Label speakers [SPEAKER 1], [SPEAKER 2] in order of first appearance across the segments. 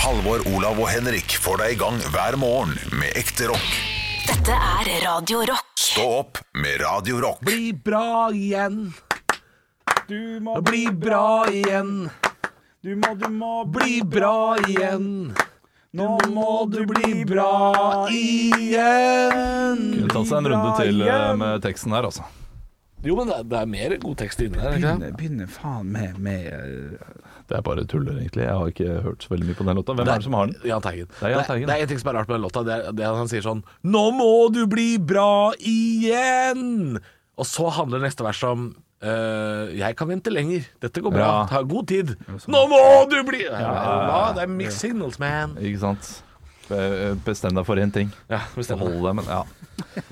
[SPEAKER 1] Halvor, Olav og Henrik får deg i gang hver morgen med ekte rock.
[SPEAKER 2] Dette er Radio Rock.
[SPEAKER 1] Stå opp med Radio Rock.
[SPEAKER 3] Bli bra igjen.
[SPEAKER 4] Du må
[SPEAKER 3] Bli bra igjen.
[SPEAKER 4] Du må, du må
[SPEAKER 3] Bli bra igjen. Nå må du bli bra igjen.
[SPEAKER 5] Kunne tatt seg en runde til eh, med teksten her, altså.
[SPEAKER 6] Jo, men det er, det er mer god tekst inni der. ikke det?
[SPEAKER 4] Begynner, begynner faen med, med eh,
[SPEAKER 5] Det er bare tuller, egentlig. Jeg har ikke hørt så veldig mye på den låta. Hvem er det som har den?
[SPEAKER 6] Jahn Teigen.
[SPEAKER 5] er Jahn Teigen.
[SPEAKER 6] det er en ting som er rart med den låta. Det er, det er at han sier sånn
[SPEAKER 3] Nå må du bli bra
[SPEAKER 6] igjen! Og så handler neste vers om eh, Jeg kan vente lenger. Dette går bra.
[SPEAKER 5] Ja. sånn.
[SPEAKER 6] Ta god tid. Nå må du bli Ja, Det er mixed signals, man.
[SPEAKER 5] Ikke sant? Be- Bestem deg for én ting.
[SPEAKER 6] Ja, bestemmer.
[SPEAKER 5] Hold deg, men ja.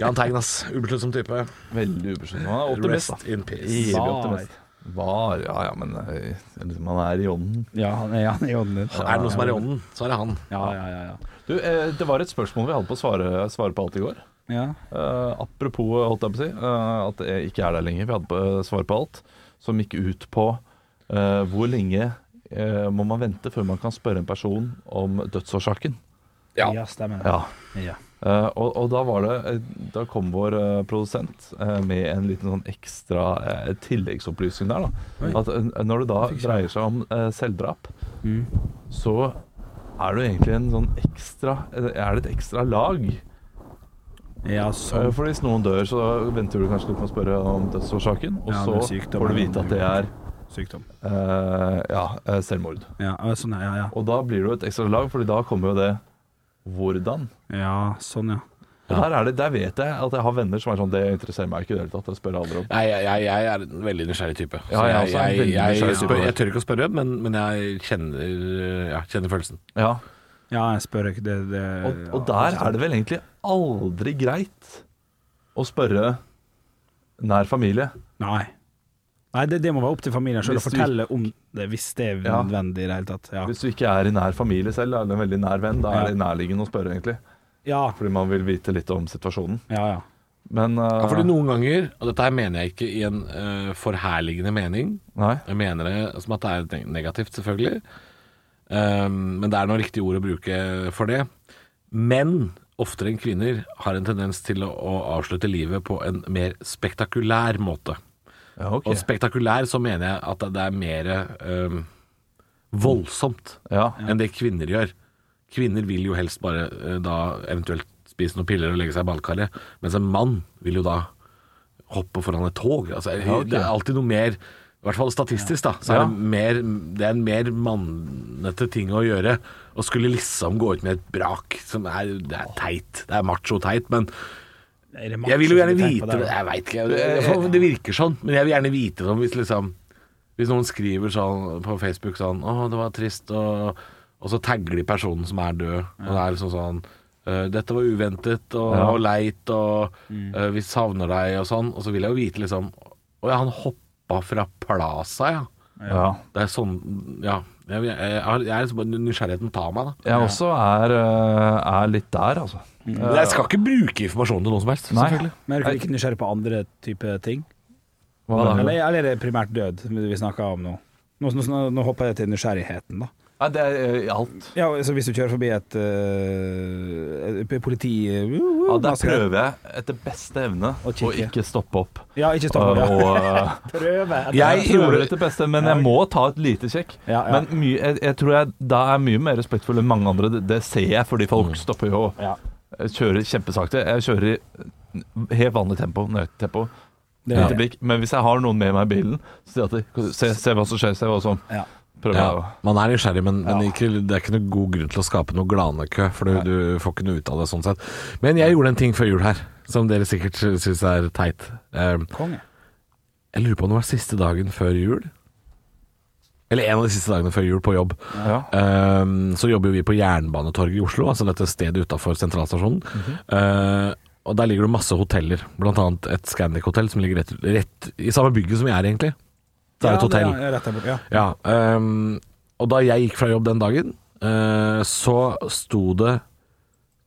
[SPEAKER 6] Jahn Teigen, ass. Ubesluttsom type.
[SPEAKER 5] Veldig ubeskjeden. Han er optimist,
[SPEAKER 6] Rest
[SPEAKER 5] da.
[SPEAKER 6] in peace.
[SPEAKER 5] Evig optimist. Var Ja ja, men eh, liksom, han er i ånden.
[SPEAKER 4] Ja, han er, han er i ånden.
[SPEAKER 6] Er det noe som er i ånden, så er det han.
[SPEAKER 4] Ja, ja, ja. ja.
[SPEAKER 5] Du, eh, det var et spørsmål vi hadde på å svare, svare på alt i går.
[SPEAKER 4] ja.
[SPEAKER 5] Eh, apropos, holdt jeg på å si, eh, at jeg ikke er der lenger. Vi hadde på, eh, svar på alt som gikk ut på eh, hvor lenge eh, må man vente før man kan spørre en person om dødsårsaken.
[SPEAKER 6] Ja.
[SPEAKER 4] ja stemmer.
[SPEAKER 5] Ja.
[SPEAKER 4] Ja.
[SPEAKER 5] Eh, og, og da var det eh, Da kom vår eh, produsent eh, med en liten sånn ekstra eh, tilleggsopplysning der. Da. At eh, når det da dreier seg om eh, selvdrap,
[SPEAKER 4] Mm.
[SPEAKER 5] så er det jo egentlig en sånn ekstra Er det et ekstra lag?
[SPEAKER 4] ja
[SPEAKER 5] Eh,
[SPEAKER 4] sånn.
[SPEAKER 5] For hvis noen dør, så venter du kanskje litt med å spørre om dødsårsaken, og
[SPEAKER 4] Ja,
[SPEAKER 5] så
[SPEAKER 4] men sykdom
[SPEAKER 5] får
[SPEAKER 4] er
[SPEAKER 5] du
[SPEAKER 4] jo
[SPEAKER 5] vite at det er
[SPEAKER 4] Sykdom.
[SPEAKER 5] eh, ja, eh, selvmord.
[SPEAKER 4] Ja, ja, sånn, ja, ja.
[SPEAKER 5] Og da blir det jo et ekstra lag, Fordi da kommer jo det hvordan.
[SPEAKER 4] ja, sånn, ja.
[SPEAKER 5] Og Der, er det, der vet jeg at jeg har venner som er sånn Det interesserer meg ikke i det hele tatt. Jeg spør aldri om
[SPEAKER 6] Nei, jeg, jeg, jeg er en veldig nysgjerrig type. Så
[SPEAKER 5] Ja, jeg er også en
[SPEAKER 6] jeg, jeg,
[SPEAKER 5] veldig
[SPEAKER 6] jeg,
[SPEAKER 5] nysgjerrig type.
[SPEAKER 6] spør, jeg tør ikke å spørre, men, men jeg kjenner, ja, kjenner følelsen.
[SPEAKER 5] ja.
[SPEAKER 4] Ja, jeg spør ikke det, det
[SPEAKER 5] og, og der er det vel egentlig aldri greit å spørre nær familie.
[SPEAKER 4] Nei. Nei, det, det må være opp til familien sjøl å
[SPEAKER 5] Hvis du-
[SPEAKER 4] fortelle om det, hvis det er
[SPEAKER 5] Ja.
[SPEAKER 4] nødvendig i det hele tatt. Ja.
[SPEAKER 5] Hvis du ikke er i nær familie selv, eller en veldig nær venn, da er det nærliggende å spørre, egentlig.
[SPEAKER 4] Ja,
[SPEAKER 5] Fordi man vil vite litt om situasjonen.
[SPEAKER 4] ja, ja.
[SPEAKER 5] Men
[SPEAKER 6] Ja, fordi
[SPEAKER 5] eh,
[SPEAKER 6] noen ganger, og dette her mener jeg ikke i en eh, forherligende mening,
[SPEAKER 5] Nei.
[SPEAKER 6] jeg mener det som at det er neg- negativt selvfølgelig, Ehm, men det er noe riktig ord å bruke for det. Menn, oftere enn kvinner, har en tendens til å, å avslutte livet på en mer spektakulær måte.
[SPEAKER 5] Ja, ok.
[SPEAKER 6] Og spektakulær så mener jeg at det er mer ehm, voldsomt
[SPEAKER 5] Ja.
[SPEAKER 6] enn det kvinner gjør. Kvinner vil jo helst bare eh, da eventuelt spise noen piller og legge seg i ballkaret, mens en mann vil jo da hoppe foran et tog. Altså,
[SPEAKER 5] ok.
[SPEAKER 6] Det er alltid noe mer i hvert fall statistisk, da. Så er
[SPEAKER 5] Ja.
[SPEAKER 6] det, mer, det er en mer mannete ting å gjøre. Å skulle liksom gå ut med et brak som er, det er teit. Det er macho-teit, men
[SPEAKER 4] Er det macho
[SPEAKER 6] jeg vil jo gjerne
[SPEAKER 4] som du tenker
[SPEAKER 6] vite
[SPEAKER 4] på der,
[SPEAKER 6] det.
[SPEAKER 4] da?
[SPEAKER 6] Jeg veit ikke, jeg- jeg- det virker sånn, men jeg vil gjerne vite det om hvis liksom Hvis noen skriver sånn på Facebook sånn 'Å, det var trist', og, og så tagger de personen som er død, og det er liksom sånn «Eh, 'Dette var uventet og,
[SPEAKER 5] Ja.
[SPEAKER 6] og leit, og eh, vi savner deg', og sånn. Og så vil jeg jo vite liksom 'Å ja, han hoppa fra Plaza, ja'.
[SPEAKER 5] ja.
[SPEAKER 6] Det er sånn Ja. Jeg, jeg, jeg, har- jeg er liksom bare Nysgjerrigheten tar meg, da.
[SPEAKER 5] Jeg også er, eh, er litt der, altså.
[SPEAKER 6] Men jeg skal ikke bruke informasjonen til noen som helst.
[SPEAKER 5] Nei.
[SPEAKER 4] Men er dere ikke nysgjerrig på andre type ting?
[SPEAKER 5] Hva da?
[SPEAKER 4] Eller, eller er det primært død vi snakker om nå? Nå, nå, nå hopper jeg til nysgjerrigheten, da.
[SPEAKER 5] Nei, det er eh, alt.
[SPEAKER 4] Ja, så Hvis du kjører forbi et, øh, et politi...
[SPEAKER 5] Ja,
[SPEAKER 4] Uh,
[SPEAKER 5] der prøver jeg etter beste evne
[SPEAKER 4] Og
[SPEAKER 5] å
[SPEAKER 4] kikke.
[SPEAKER 5] ikke stoppe opp.
[SPEAKER 4] Ja, ikke stopp.
[SPEAKER 5] Eh,
[SPEAKER 4] Ja.
[SPEAKER 5] og, eh,
[SPEAKER 4] Prøve.
[SPEAKER 5] jeg
[SPEAKER 6] Jeg gjorde
[SPEAKER 5] prøver etter beste, men jeg må ta et lite sjekk.
[SPEAKER 4] Ja, ja.
[SPEAKER 5] Men mye, jeg, jeg tror jeg da er mye mer respektfull enn mange andre. Det, det ser jeg, fordi
[SPEAKER 6] Mm.
[SPEAKER 5] folk stopper jo og eh,
[SPEAKER 4] Ja.
[SPEAKER 5] kjører kjempesakte. Jeg kjører i helt vanlig tempo, nøyaktig tempo.
[SPEAKER 4] Det er
[SPEAKER 5] lite blikk. Men hvis jeg har noen med meg i bilen, så sier jeg at de, se, se hva som skjer, se hva som
[SPEAKER 4] Ja.
[SPEAKER 5] Prøver jeg å
[SPEAKER 6] Ja, man er nysgjerrig, men, men ikke, det er ikke noe god grunn til å skape noe glanekø, for du, du får ikke noe ut av det sånn sett. Men jeg gjorde en ting før jul her, som dere sikkert syns er teit. Eh,
[SPEAKER 4] Konge.
[SPEAKER 6] Jeg lurer på om det var siste dagen før jul. Eller en av de siste dagene før jul på jobb.
[SPEAKER 5] Ja.
[SPEAKER 6] Eh, så jobber jo vi på Jernbanetorget i Oslo, altså dette stedet utafor sentralstasjonen. Eh, og der ligger det masse hoteller, bl.a. et Scandic-hotell som ligger rett, rett i samme bygget som vi er, egentlig. Det er et hotell.
[SPEAKER 4] Ja, ja, rett der borte. Ja.
[SPEAKER 6] Ja, ehm, og da jeg gikk fra jobb den dagen, eh, så sto det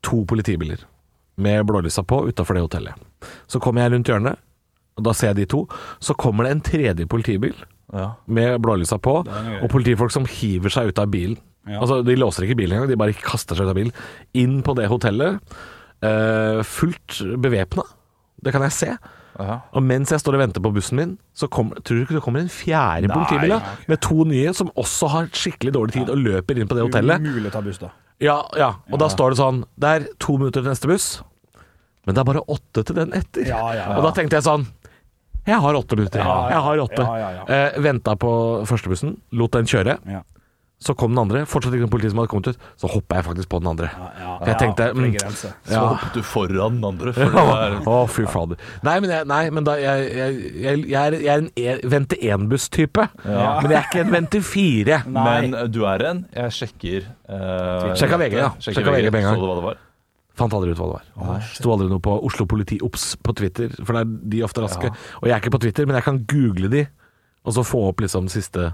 [SPEAKER 6] to politibiler med blålysa på utafor det hotellet. Så kommer jeg rundt hjørnet, og da ser jeg de to. Så kommer det en tredje politibil
[SPEAKER 5] ja.
[SPEAKER 6] med blålysa på,
[SPEAKER 4] er noe gøy.
[SPEAKER 6] og politifolk som hiver seg ut av bilen.
[SPEAKER 4] Ja.
[SPEAKER 6] Altså, de låser ikke bilen engang, de bare kaster seg ut av bilen. Inn på det hotellet, eh, fullt bevæpna. Det kan jeg se.
[SPEAKER 5] Ja.
[SPEAKER 6] Og mens jeg står og venter på bussen min, så kommer, tror du ikke det kommer en fjerde
[SPEAKER 5] Nei,
[SPEAKER 6] politibil da,
[SPEAKER 5] ja, ok.
[SPEAKER 6] med to nye som også har skikkelig dårlig tid og løper inn på det hotellet.
[SPEAKER 4] Umulig å ta buss, da.
[SPEAKER 6] Ja, ja. Og da står det sånn Det er to minutter til neste buss, men det er bare åtte til den etter.
[SPEAKER 4] Ja, ja, ja.
[SPEAKER 6] Og da tenkte jeg sånn Jeg har åtte minutter.
[SPEAKER 4] Ja, ja.
[SPEAKER 6] Jeg har åtte.
[SPEAKER 4] Ja, ja, ja.
[SPEAKER 6] Eh, venta på første bussen, lot den kjøre.
[SPEAKER 4] Ja.
[SPEAKER 6] Så kom den andre. Fortsatt ikke noen politi som hadde kommet ut. Så hoppa jeg faktisk på den andre. For jeg tenkte
[SPEAKER 4] for en
[SPEAKER 6] mm,
[SPEAKER 4] grense.
[SPEAKER 5] Så
[SPEAKER 6] ja.
[SPEAKER 5] hoppet du foran den andre. For
[SPEAKER 6] Å,
[SPEAKER 5] det er,
[SPEAKER 6] fy fader. Nei, men jeg, nei, men da, jeg, jeg, jeg, jeg er, jeg er en e- vente 1-buss-type.
[SPEAKER 5] Ja.
[SPEAKER 6] Men jeg er ikke en vente 4.
[SPEAKER 5] men eh, du er en. Jeg sjekker eh,
[SPEAKER 6] Sjekka VG, ja.
[SPEAKER 5] Sjekker
[SPEAKER 6] Sjekka VG med en gang.
[SPEAKER 5] Så du hva det var?
[SPEAKER 6] Fant aldri ut hva det var. Sto aldri noe på Oslo politi obs på Twitter, for det er de ofte raske. Og jeg er ikke på Twitter, men jeg kan google de, og så få opp liksom siste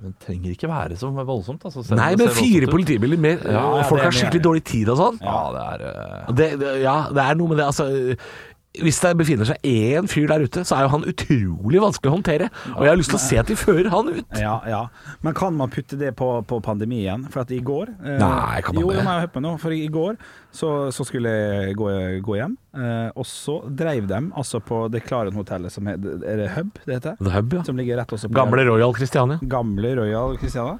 [SPEAKER 5] Men det trenger ikke være så voldsomt. Altså, selv om
[SPEAKER 6] Nei,
[SPEAKER 5] det
[SPEAKER 6] men
[SPEAKER 5] ser voldsomt
[SPEAKER 6] fire
[SPEAKER 5] ut.
[SPEAKER 6] politibiler mer.
[SPEAKER 5] ja,
[SPEAKER 6] folk
[SPEAKER 5] det
[SPEAKER 6] har
[SPEAKER 5] mener jeg.
[SPEAKER 6] skikkelig dårlig tid og sånn.
[SPEAKER 5] Ja, det er eh,
[SPEAKER 6] Det, det, ja, det er noe med det, altså. Hvis det befinner seg én fyr der ute, så er jo han utrolig vanskelig å håndtere. Og jeg har lyst til å se at de fører han ut.
[SPEAKER 4] Ja, ja. Men kan man putte det på, på pandemien? For at i går eh,
[SPEAKER 6] Nei, kan man
[SPEAKER 4] jo,
[SPEAKER 6] det?
[SPEAKER 4] Jo, må jeg høre på nå. For i går så, så skulle jeg gå, gå hjem, eh, og så dreiv dem altså på det Klaren-hotellet som er, er det Hub, det heter?
[SPEAKER 6] The Hub, ja.
[SPEAKER 4] Som ligger rett også på
[SPEAKER 6] Gamle Royal Christiania.
[SPEAKER 4] Gamle Royal Christiana.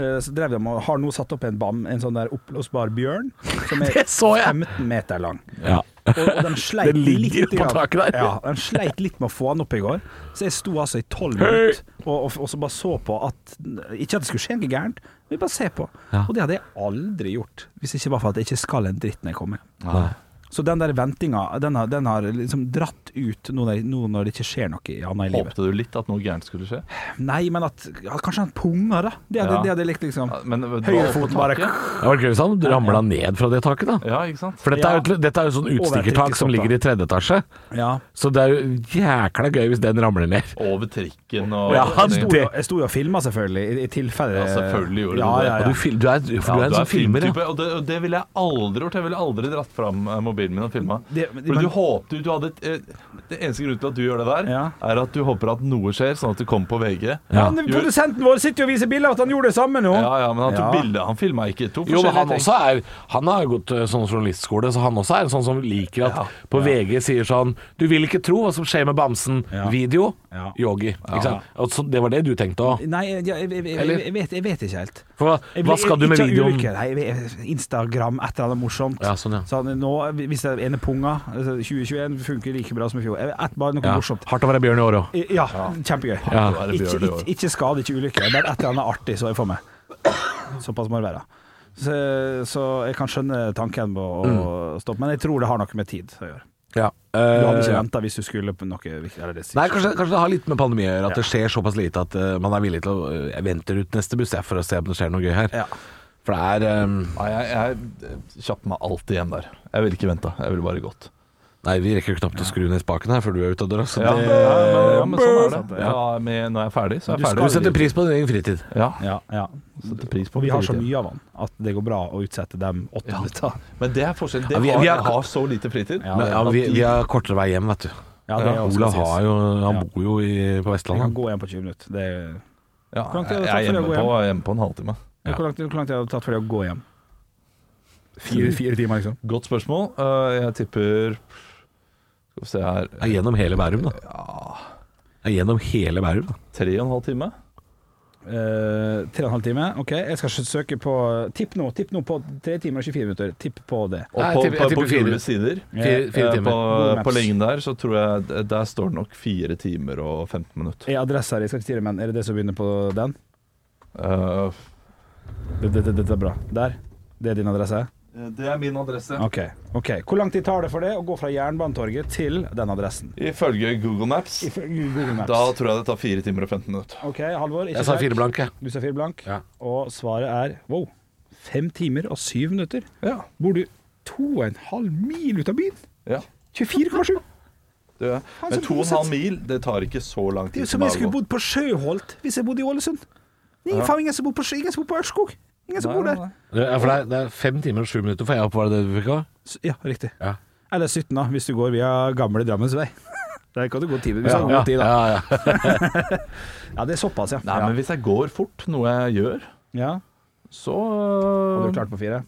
[SPEAKER 4] Eh, Så drev de og har nå satt opp en bam, en sånn der oppblåsbar bjørn, som er
[SPEAKER 6] Det så jeg!
[SPEAKER 4] 15 meter lang.
[SPEAKER 6] Ja.
[SPEAKER 4] Og, og de sleit
[SPEAKER 6] Den ligger
[SPEAKER 4] litt
[SPEAKER 6] på
[SPEAKER 4] grann-
[SPEAKER 6] taket der.
[SPEAKER 4] Ja, de sleit litt med å få han opp i går. Så jeg sto altså i tolv
[SPEAKER 6] Hei!
[SPEAKER 4] minutter og, og, og så bare så på at Ikke at det skulle skje noe gærent, men bare se på.
[SPEAKER 6] Ja.
[SPEAKER 4] Og det hadde jeg aldri gjort hvis det ikke var for at jeg ikke skal en dritt når jeg kommer hjem. Så den der ventinga, den har, den har liksom dratt ut nå når, nå når det ikke skjer noe annet i livet.
[SPEAKER 5] Håpte du litt at noe gærent skulle skje?
[SPEAKER 4] Nei, men at ja, Kanskje han punger, da. Det hadde,
[SPEAKER 5] Ja.
[SPEAKER 4] det hadde jeg likt, liksom.
[SPEAKER 5] Ja, Men, du var
[SPEAKER 4] Høyre
[SPEAKER 5] oppe på
[SPEAKER 4] foten bare
[SPEAKER 5] taket.
[SPEAKER 6] Det var gøy hvis han ramla ned fra det taket, da.
[SPEAKER 5] Ja, ikke sant?
[SPEAKER 6] For dette er jo, et- dette er jo sånn utstikkertak som ligger i tredje etasje.
[SPEAKER 4] Ja.
[SPEAKER 6] Så det er jo jækla gøy hvis den ramler ned.
[SPEAKER 5] Over trikken og
[SPEAKER 6] Ja,
[SPEAKER 4] Jeg sto, jo,
[SPEAKER 6] det-
[SPEAKER 4] jeg sto jo og filma, selvfølgelig, i, i tilfelle
[SPEAKER 5] Ja, selvfølgelig gjorde du
[SPEAKER 4] ja,
[SPEAKER 5] det.
[SPEAKER 4] Ja,
[SPEAKER 6] Og
[SPEAKER 4] ja.
[SPEAKER 6] du, fil, du, er, for du er en sånn filmer, ja.
[SPEAKER 5] filmtype, og, det, og det ville jeg aldri gjort. Jeg ville aldri dratt fram eh, mobilen min og filma.
[SPEAKER 4] Det- men-
[SPEAKER 5] Fordi du håpte jo- du hadde et, eh, Det eneste grunnen til at du gjør det der,
[SPEAKER 4] Ja.
[SPEAKER 5] er at du håper at noe skjer, sånn at det kommer på VG.
[SPEAKER 6] Ja.
[SPEAKER 4] Men Produsenten vår sitter jo og viser bilder av at han gjorde det samme nå.
[SPEAKER 5] Ja, ja, men han tok
[SPEAKER 4] Ja.
[SPEAKER 5] bilde. Han filma ikke to
[SPEAKER 6] Jo, men
[SPEAKER 5] forskjellige
[SPEAKER 6] han
[SPEAKER 5] ting.
[SPEAKER 6] også er Han har jo gått eh, sånn journalistskole, så han også er en sånn som liker at på VG sier sånn Du vil ikke tro hva som skjer med bamsen.
[SPEAKER 4] Ja.
[SPEAKER 6] Video.
[SPEAKER 4] Ja.
[SPEAKER 6] Yogi. Ikke sant? Og så, det var det du tenkte òg.
[SPEAKER 4] Nei, jeg, jeg, jeg, jeg,
[SPEAKER 6] Eller?
[SPEAKER 4] jeg, vet, jeg vet ikke helt.
[SPEAKER 6] For hva,
[SPEAKER 4] Jeg
[SPEAKER 6] hva
[SPEAKER 4] blir-
[SPEAKER 6] skal du med
[SPEAKER 4] ikke av
[SPEAKER 6] videoen?
[SPEAKER 4] ulykker. Nei, jeg- Instagram, et eller annet morsomt.
[SPEAKER 6] Ja, sånn, ja.
[SPEAKER 4] Så han, nå, hvis det er ene punga altså, 2021 funker like bra som i fjor. Jeg vet, Et, bare noe
[SPEAKER 6] Ja.
[SPEAKER 4] morsomt.
[SPEAKER 6] Hardt å være bjørn i år òg.
[SPEAKER 4] Ja, kjempegøy.
[SPEAKER 6] Ja.
[SPEAKER 5] Ja, det blir
[SPEAKER 4] Ikke,
[SPEAKER 5] det jo.
[SPEAKER 4] ikke, ikke skade, ikke ulykke. Bare et eller annet artig, så jeg får meg. Såpass må det være. Så, så jeg kan skjønne tanken på å stoppe, men jeg tror det har noe med tid å gjøre.
[SPEAKER 6] Ja.
[SPEAKER 4] Du hadde
[SPEAKER 6] Eh,
[SPEAKER 4] ikke venta hvis du skulle på noe viktig. Eller det
[SPEAKER 6] Nei, kanskje, kanskje det har litt med pandemi å gjøre. At det skjer såpass lite at eh, man er villig til å eh, Jeg venter ut neste buss jeg, for å se om det skjer noe gøy her.
[SPEAKER 4] Ja.
[SPEAKER 6] For det er eh,
[SPEAKER 5] Nei, jeg, jeg kjappte meg alltid hjem der. Jeg ville ikke venta. Jeg ville bare gått.
[SPEAKER 6] Nei, vi rekker jo knapt å skru ned spaken her før du er ute av døra. Så
[SPEAKER 5] Ja,
[SPEAKER 6] det,
[SPEAKER 5] men, ja, men sånn er det. Ja, men når jeg er ferdig, så er
[SPEAKER 4] Du
[SPEAKER 5] jeg
[SPEAKER 4] skal-
[SPEAKER 5] ferdig.
[SPEAKER 6] du setter pris på din egen fritid.
[SPEAKER 5] Ja,
[SPEAKER 4] Ja, ja.
[SPEAKER 5] setter pris på
[SPEAKER 4] Og vi har så
[SPEAKER 5] fritiden.
[SPEAKER 4] mye av han at det går bra å utsette dem åtte minutter.
[SPEAKER 5] Men det er forskjellen. Det
[SPEAKER 6] Ja, vi-
[SPEAKER 5] har,
[SPEAKER 6] vi har-
[SPEAKER 5] jeg har så lite fritid.
[SPEAKER 4] Ja,
[SPEAKER 6] Men, ja, vi, vi har kortere vei hjem, vet du.
[SPEAKER 4] Ja, det er også
[SPEAKER 6] Olav
[SPEAKER 4] skal sies.
[SPEAKER 6] har jo, han
[SPEAKER 4] Ja.
[SPEAKER 6] bor jo i, på
[SPEAKER 4] Jeg kan
[SPEAKER 6] Vestlandet.
[SPEAKER 4] gå igjen på 20 minutter. Det er,
[SPEAKER 5] Ja,
[SPEAKER 4] Hvor lang tid
[SPEAKER 5] jeg
[SPEAKER 4] har det
[SPEAKER 5] jeg
[SPEAKER 4] tatt for deg å gå
[SPEAKER 5] er hjemme
[SPEAKER 4] hjem?
[SPEAKER 5] på, jeg er hjemme på en halvtime.
[SPEAKER 4] ja. Hvor lang tid hvor lang tid har det tatt for deg å gå hjem? Fire, fire timer, liksom?
[SPEAKER 5] Godt spørsmål. Eh, Jeg tipper Skal vi se her
[SPEAKER 6] Ja, gjennom hele Bærum, da. Ja. gjennom hele Bærum, da.
[SPEAKER 5] Tre og en halv time.
[SPEAKER 4] Eh, tre og en halv time. OK, jeg skal ikke søke på Tipp nå, tipp nå på tre timer og 24 minutter. Tipp på det.
[SPEAKER 5] Og
[SPEAKER 6] Nei, jeg
[SPEAKER 5] på,
[SPEAKER 6] tipper- jeg
[SPEAKER 5] på, på
[SPEAKER 6] tipper fire.
[SPEAKER 5] gule sider
[SPEAKER 6] Fire, fire
[SPEAKER 5] eh,
[SPEAKER 6] timer.
[SPEAKER 4] Google
[SPEAKER 5] På,
[SPEAKER 4] Maps.
[SPEAKER 5] på lengden der så tror jeg Der står det nok fire timer og 15 minutter.
[SPEAKER 4] Er adressa di, skal ikke si det, men er det det som begynner på den?
[SPEAKER 5] Eh,
[SPEAKER 4] Dette det, det, dette er bra. Der. Det er din adresse?
[SPEAKER 5] det er min adresse.
[SPEAKER 4] OK. ok Hvor lang tid tar det for det å gå fra Jernbanetorget til den adressen?
[SPEAKER 5] Ifølge Google Maps
[SPEAKER 4] Ifølge Google Maps.
[SPEAKER 5] da tror jeg det tar fire timer og 15 minutter.
[SPEAKER 4] OK, Halvor. Ikke
[SPEAKER 6] Jeg sa
[SPEAKER 4] sjekk.
[SPEAKER 6] fire blank, jeg.
[SPEAKER 4] Du sa fire blank.
[SPEAKER 6] Ja.
[SPEAKER 4] Og svaret er wow. Fem timer og syv minutter.
[SPEAKER 5] Ja.
[SPEAKER 4] Bor du to og en halv mil ut av byen?
[SPEAKER 5] ja.
[SPEAKER 4] 24,7!
[SPEAKER 5] Det gjør jeg.
[SPEAKER 4] Faen, så
[SPEAKER 5] Men to og en halv
[SPEAKER 4] bosett.
[SPEAKER 5] mil, det tar ikke så lang
[SPEAKER 4] Det er
[SPEAKER 5] tid.
[SPEAKER 4] jo som jeg skulle bodd på Sjøholt hvis jeg bodde i Ålesund. Det er ingen, faen, ingen som bor på, Sjø- ingen som bor på Ørskog. Ingen som bor der.
[SPEAKER 6] Ja, for det er, det er fem timer og sju minutter, får jeg opp hva det du fikk av?
[SPEAKER 4] S- Ja, riktig.
[SPEAKER 6] Ja.
[SPEAKER 4] Eller 17, da, hvis du går via gamle Drammensvei. Der kan du gå ti minutter.
[SPEAKER 6] Ja,
[SPEAKER 4] Ja,
[SPEAKER 6] ja,
[SPEAKER 4] tid, da.
[SPEAKER 6] ja, ja.
[SPEAKER 4] ja, det er såpass, ja.
[SPEAKER 5] Nei, men hvis jeg går fort, noe jeg gjør,
[SPEAKER 4] ja.
[SPEAKER 5] Så
[SPEAKER 4] Hadde du klart på fire?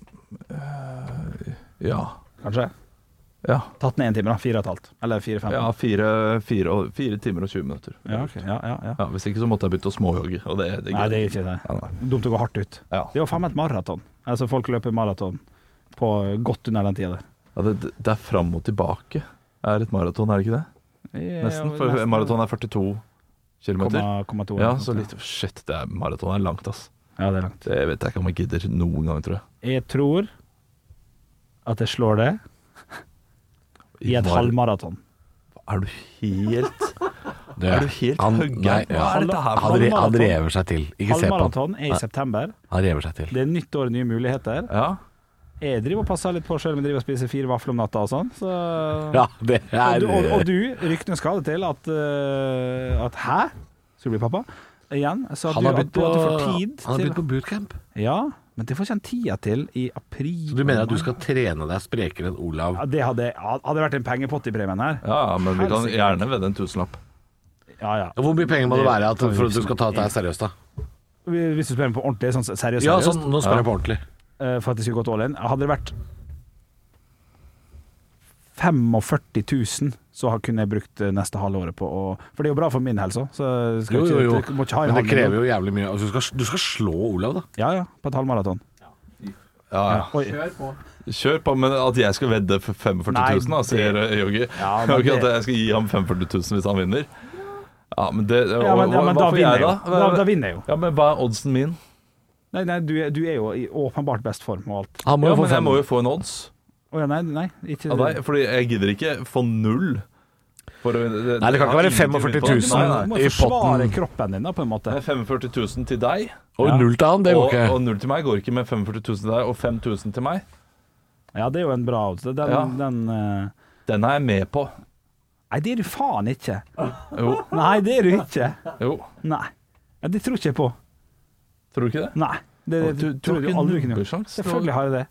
[SPEAKER 5] Ja.
[SPEAKER 4] Kanskje?
[SPEAKER 5] Ja,
[SPEAKER 4] Tatt ned én time, da. Fire og et halvt. Eller fire-fem.
[SPEAKER 5] ja fire, fire, og- fire timer og 20 minutter.
[SPEAKER 4] Ja, ok. ja, ja, ja.
[SPEAKER 5] Ja, Hvis ikke så måtte jeg begynt å småjogge. Og det, det
[SPEAKER 4] Nei, det er ikke det.
[SPEAKER 5] Nei,
[SPEAKER 4] Dumt å gå hardt ut.
[SPEAKER 5] Ja.
[SPEAKER 4] Det er jo faen meg et maraton. Altså, folk løper maraton på godt under den tida der.
[SPEAKER 5] Ja, det, det er fram og tilbake. Det er et maraton, er det ikke det? Nesten. For maraton er 42 km. Ja, så litt Shit, det er maraton er langt, ass.
[SPEAKER 4] Ja, det er langt.
[SPEAKER 5] Det vet jeg ikke om jeg gidder noen gang, tror jeg.
[SPEAKER 4] Jeg tror at jeg slår det i et
[SPEAKER 5] Var-
[SPEAKER 4] halvmaraton.
[SPEAKER 5] Er du helt
[SPEAKER 6] Det,
[SPEAKER 5] Er du helt
[SPEAKER 6] han,
[SPEAKER 5] høgge?
[SPEAKER 6] Nei, ja.
[SPEAKER 5] Hva er dette her?
[SPEAKER 6] han, re,
[SPEAKER 5] for noe?
[SPEAKER 6] han
[SPEAKER 4] Halvmaraton.
[SPEAKER 6] rever seg til. Ikke se på han.
[SPEAKER 4] Halvmaraton er i september.
[SPEAKER 6] Han rever seg til.
[SPEAKER 4] Det er nytt år, nye muligheter.
[SPEAKER 5] Ja.
[SPEAKER 4] Jeg driver og passer litt på selv om jeg driver og spiser fire vafler om natta og sånn. Så...
[SPEAKER 6] Ja, det
[SPEAKER 4] Og,
[SPEAKER 6] er
[SPEAKER 4] du, og, og du, ryktene skal det til at, eh, at Hæ? Skal du bli pappa? Igjen. Så at
[SPEAKER 6] Han
[SPEAKER 4] du,
[SPEAKER 6] har
[SPEAKER 4] at
[SPEAKER 6] begynt
[SPEAKER 4] du,
[SPEAKER 6] på,
[SPEAKER 4] at du får tid
[SPEAKER 6] han har
[SPEAKER 4] til
[SPEAKER 6] begynt på bootcamp.
[SPEAKER 4] Ja, men det får ikke han tida til i april.
[SPEAKER 6] Så du mener at du skal trene deg sprekere enn Olav?
[SPEAKER 4] ja, Det hadde, hadde vært en pengepott i premien her.
[SPEAKER 5] ja, men vi kan gjerne vedde en tusenlapp.
[SPEAKER 4] Ja, ja.
[SPEAKER 6] Hvor mye penger må det være at, for at du skal ta dette seriøst, da?
[SPEAKER 4] Hvis du spør meg på ordentlig, sånn seriøst,
[SPEAKER 6] Ja,
[SPEAKER 4] seriøst
[SPEAKER 6] sånn, nå spør jeg på ordentlig.
[SPEAKER 4] eh, for at jeg skulle gått all in Hadde det vært 45 000, så har- kunne jeg brukt eh, neste halvåret på å For det er jo bra for min helse òg, så skal
[SPEAKER 6] Jo,
[SPEAKER 4] jeg
[SPEAKER 6] jo,
[SPEAKER 4] ikke,
[SPEAKER 6] jo.
[SPEAKER 4] du må ikke ha en
[SPEAKER 6] Men det
[SPEAKER 4] halv million.
[SPEAKER 6] krever jo jævlig mye. Altså, du, skal, du skal slå Olav, da.
[SPEAKER 4] Ja, ja, på et halvmaraton.
[SPEAKER 5] Ja, ja.
[SPEAKER 4] Oi.
[SPEAKER 5] Kjør på, men at jeg skal vedde for 45 000, da,
[SPEAKER 4] Nei,
[SPEAKER 5] sier eh, Yogi.
[SPEAKER 4] Ja, men
[SPEAKER 5] Ok,
[SPEAKER 4] det-
[SPEAKER 5] At jeg skal gi ham 45 000 hvis han vinner. Ja, men det
[SPEAKER 4] Ja, men, ja, men da,
[SPEAKER 5] får
[SPEAKER 4] vinner jeg, jo.
[SPEAKER 5] Hva-
[SPEAKER 4] da, da vinner jeg jo.
[SPEAKER 5] Ja, men hva er oddsen min?
[SPEAKER 4] Nei, nei du, er- du er jo i åpenbart best form og alt.
[SPEAKER 6] Han
[SPEAKER 5] Ja, men jeg må jo få en odds
[SPEAKER 4] Å ja, nei, nei, ikke
[SPEAKER 5] av deg, fordi jeg gidder ikke få null. For å vinne.
[SPEAKER 6] Nei, det kan ikke være
[SPEAKER 5] har ingenting å vinne på.
[SPEAKER 6] 45 000.
[SPEAKER 5] Nei,
[SPEAKER 4] Du
[SPEAKER 5] nei.
[SPEAKER 4] må
[SPEAKER 6] i
[SPEAKER 4] forsvare
[SPEAKER 6] potten.
[SPEAKER 4] kroppen din, da, på en måte.
[SPEAKER 5] Det er 45 000 til deg,
[SPEAKER 6] Og null til han, det går
[SPEAKER 5] og, og
[SPEAKER 6] ikke.
[SPEAKER 5] null til meg går ikke, men 45 000 til deg og 5000 til meg,
[SPEAKER 4] Ja, det er jo en bra odds. Den,
[SPEAKER 5] Ja.
[SPEAKER 4] den eh,
[SPEAKER 5] den er jeg med på.
[SPEAKER 4] Nei, det er du faen ikke.
[SPEAKER 5] Jo,
[SPEAKER 4] Nei, det er du ikke.
[SPEAKER 5] jo.
[SPEAKER 4] Nei. Ja, det tror ikke jeg på.
[SPEAKER 5] Tror du ikke det?
[SPEAKER 4] Nei. Det, det,
[SPEAKER 5] Du- du
[SPEAKER 4] tror
[SPEAKER 5] har
[SPEAKER 4] jeg
[SPEAKER 5] ikke
[SPEAKER 4] aldri kunne gjort.
[SPEAKER 5] nubbesjans.
[SPEAKER 4] Selvfølgelig har jeg det.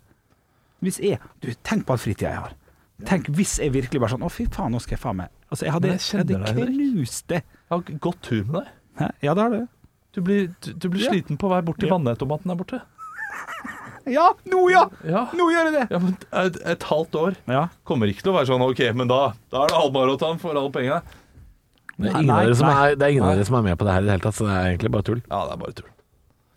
[SPEAKER 4] Hvis jeg Du, tenk på all fritida jeg har. Tenk hvis jeg virkelig bare sånn Å, fy faen, nå skal jeg faen meg Altså, jeg hadde,
[SPEAKER 5] Men jeg
[SPEAKER 4] jeg
[SPEAKER 5] kjenner deg,
[SPEAKER 4] hadde
[SPEAKER 5] Henrik.
[SPEAKER 4] knust det.
[SPEAKER 5] Jeg har godt tur med deg.
[SPEAKER 4] Hæ? Ja, det har du.
[SPEAKER 5] Du blir, du, du blir
[SPEAKER 4] Ja.
[SPEAKER 5] sliten på vei bort til
[SPEAKER 4] Ja.
[SPEAKER 5] vannautomaten der borte.
[SPEAKER 4] Ja, nå ja!
[SPEAKER 5] Ja,
[SPEAKER 4] Nå gjør jeg det!
[SPEAKER 5] ja men et, et halvt år
[SPEAKER 4] Ja.
[SPEAKER 5] kommer ikke til å være sånn OK, men da, da er det halvmaraton for alle pengene.
[SPEAKER 6] Det er ingen av dere som er- det er ingen av dere som er med på det her i det hele tatt, så det er egentlig bare tull.
[SPEAKER 5] Ja, det er bare tull.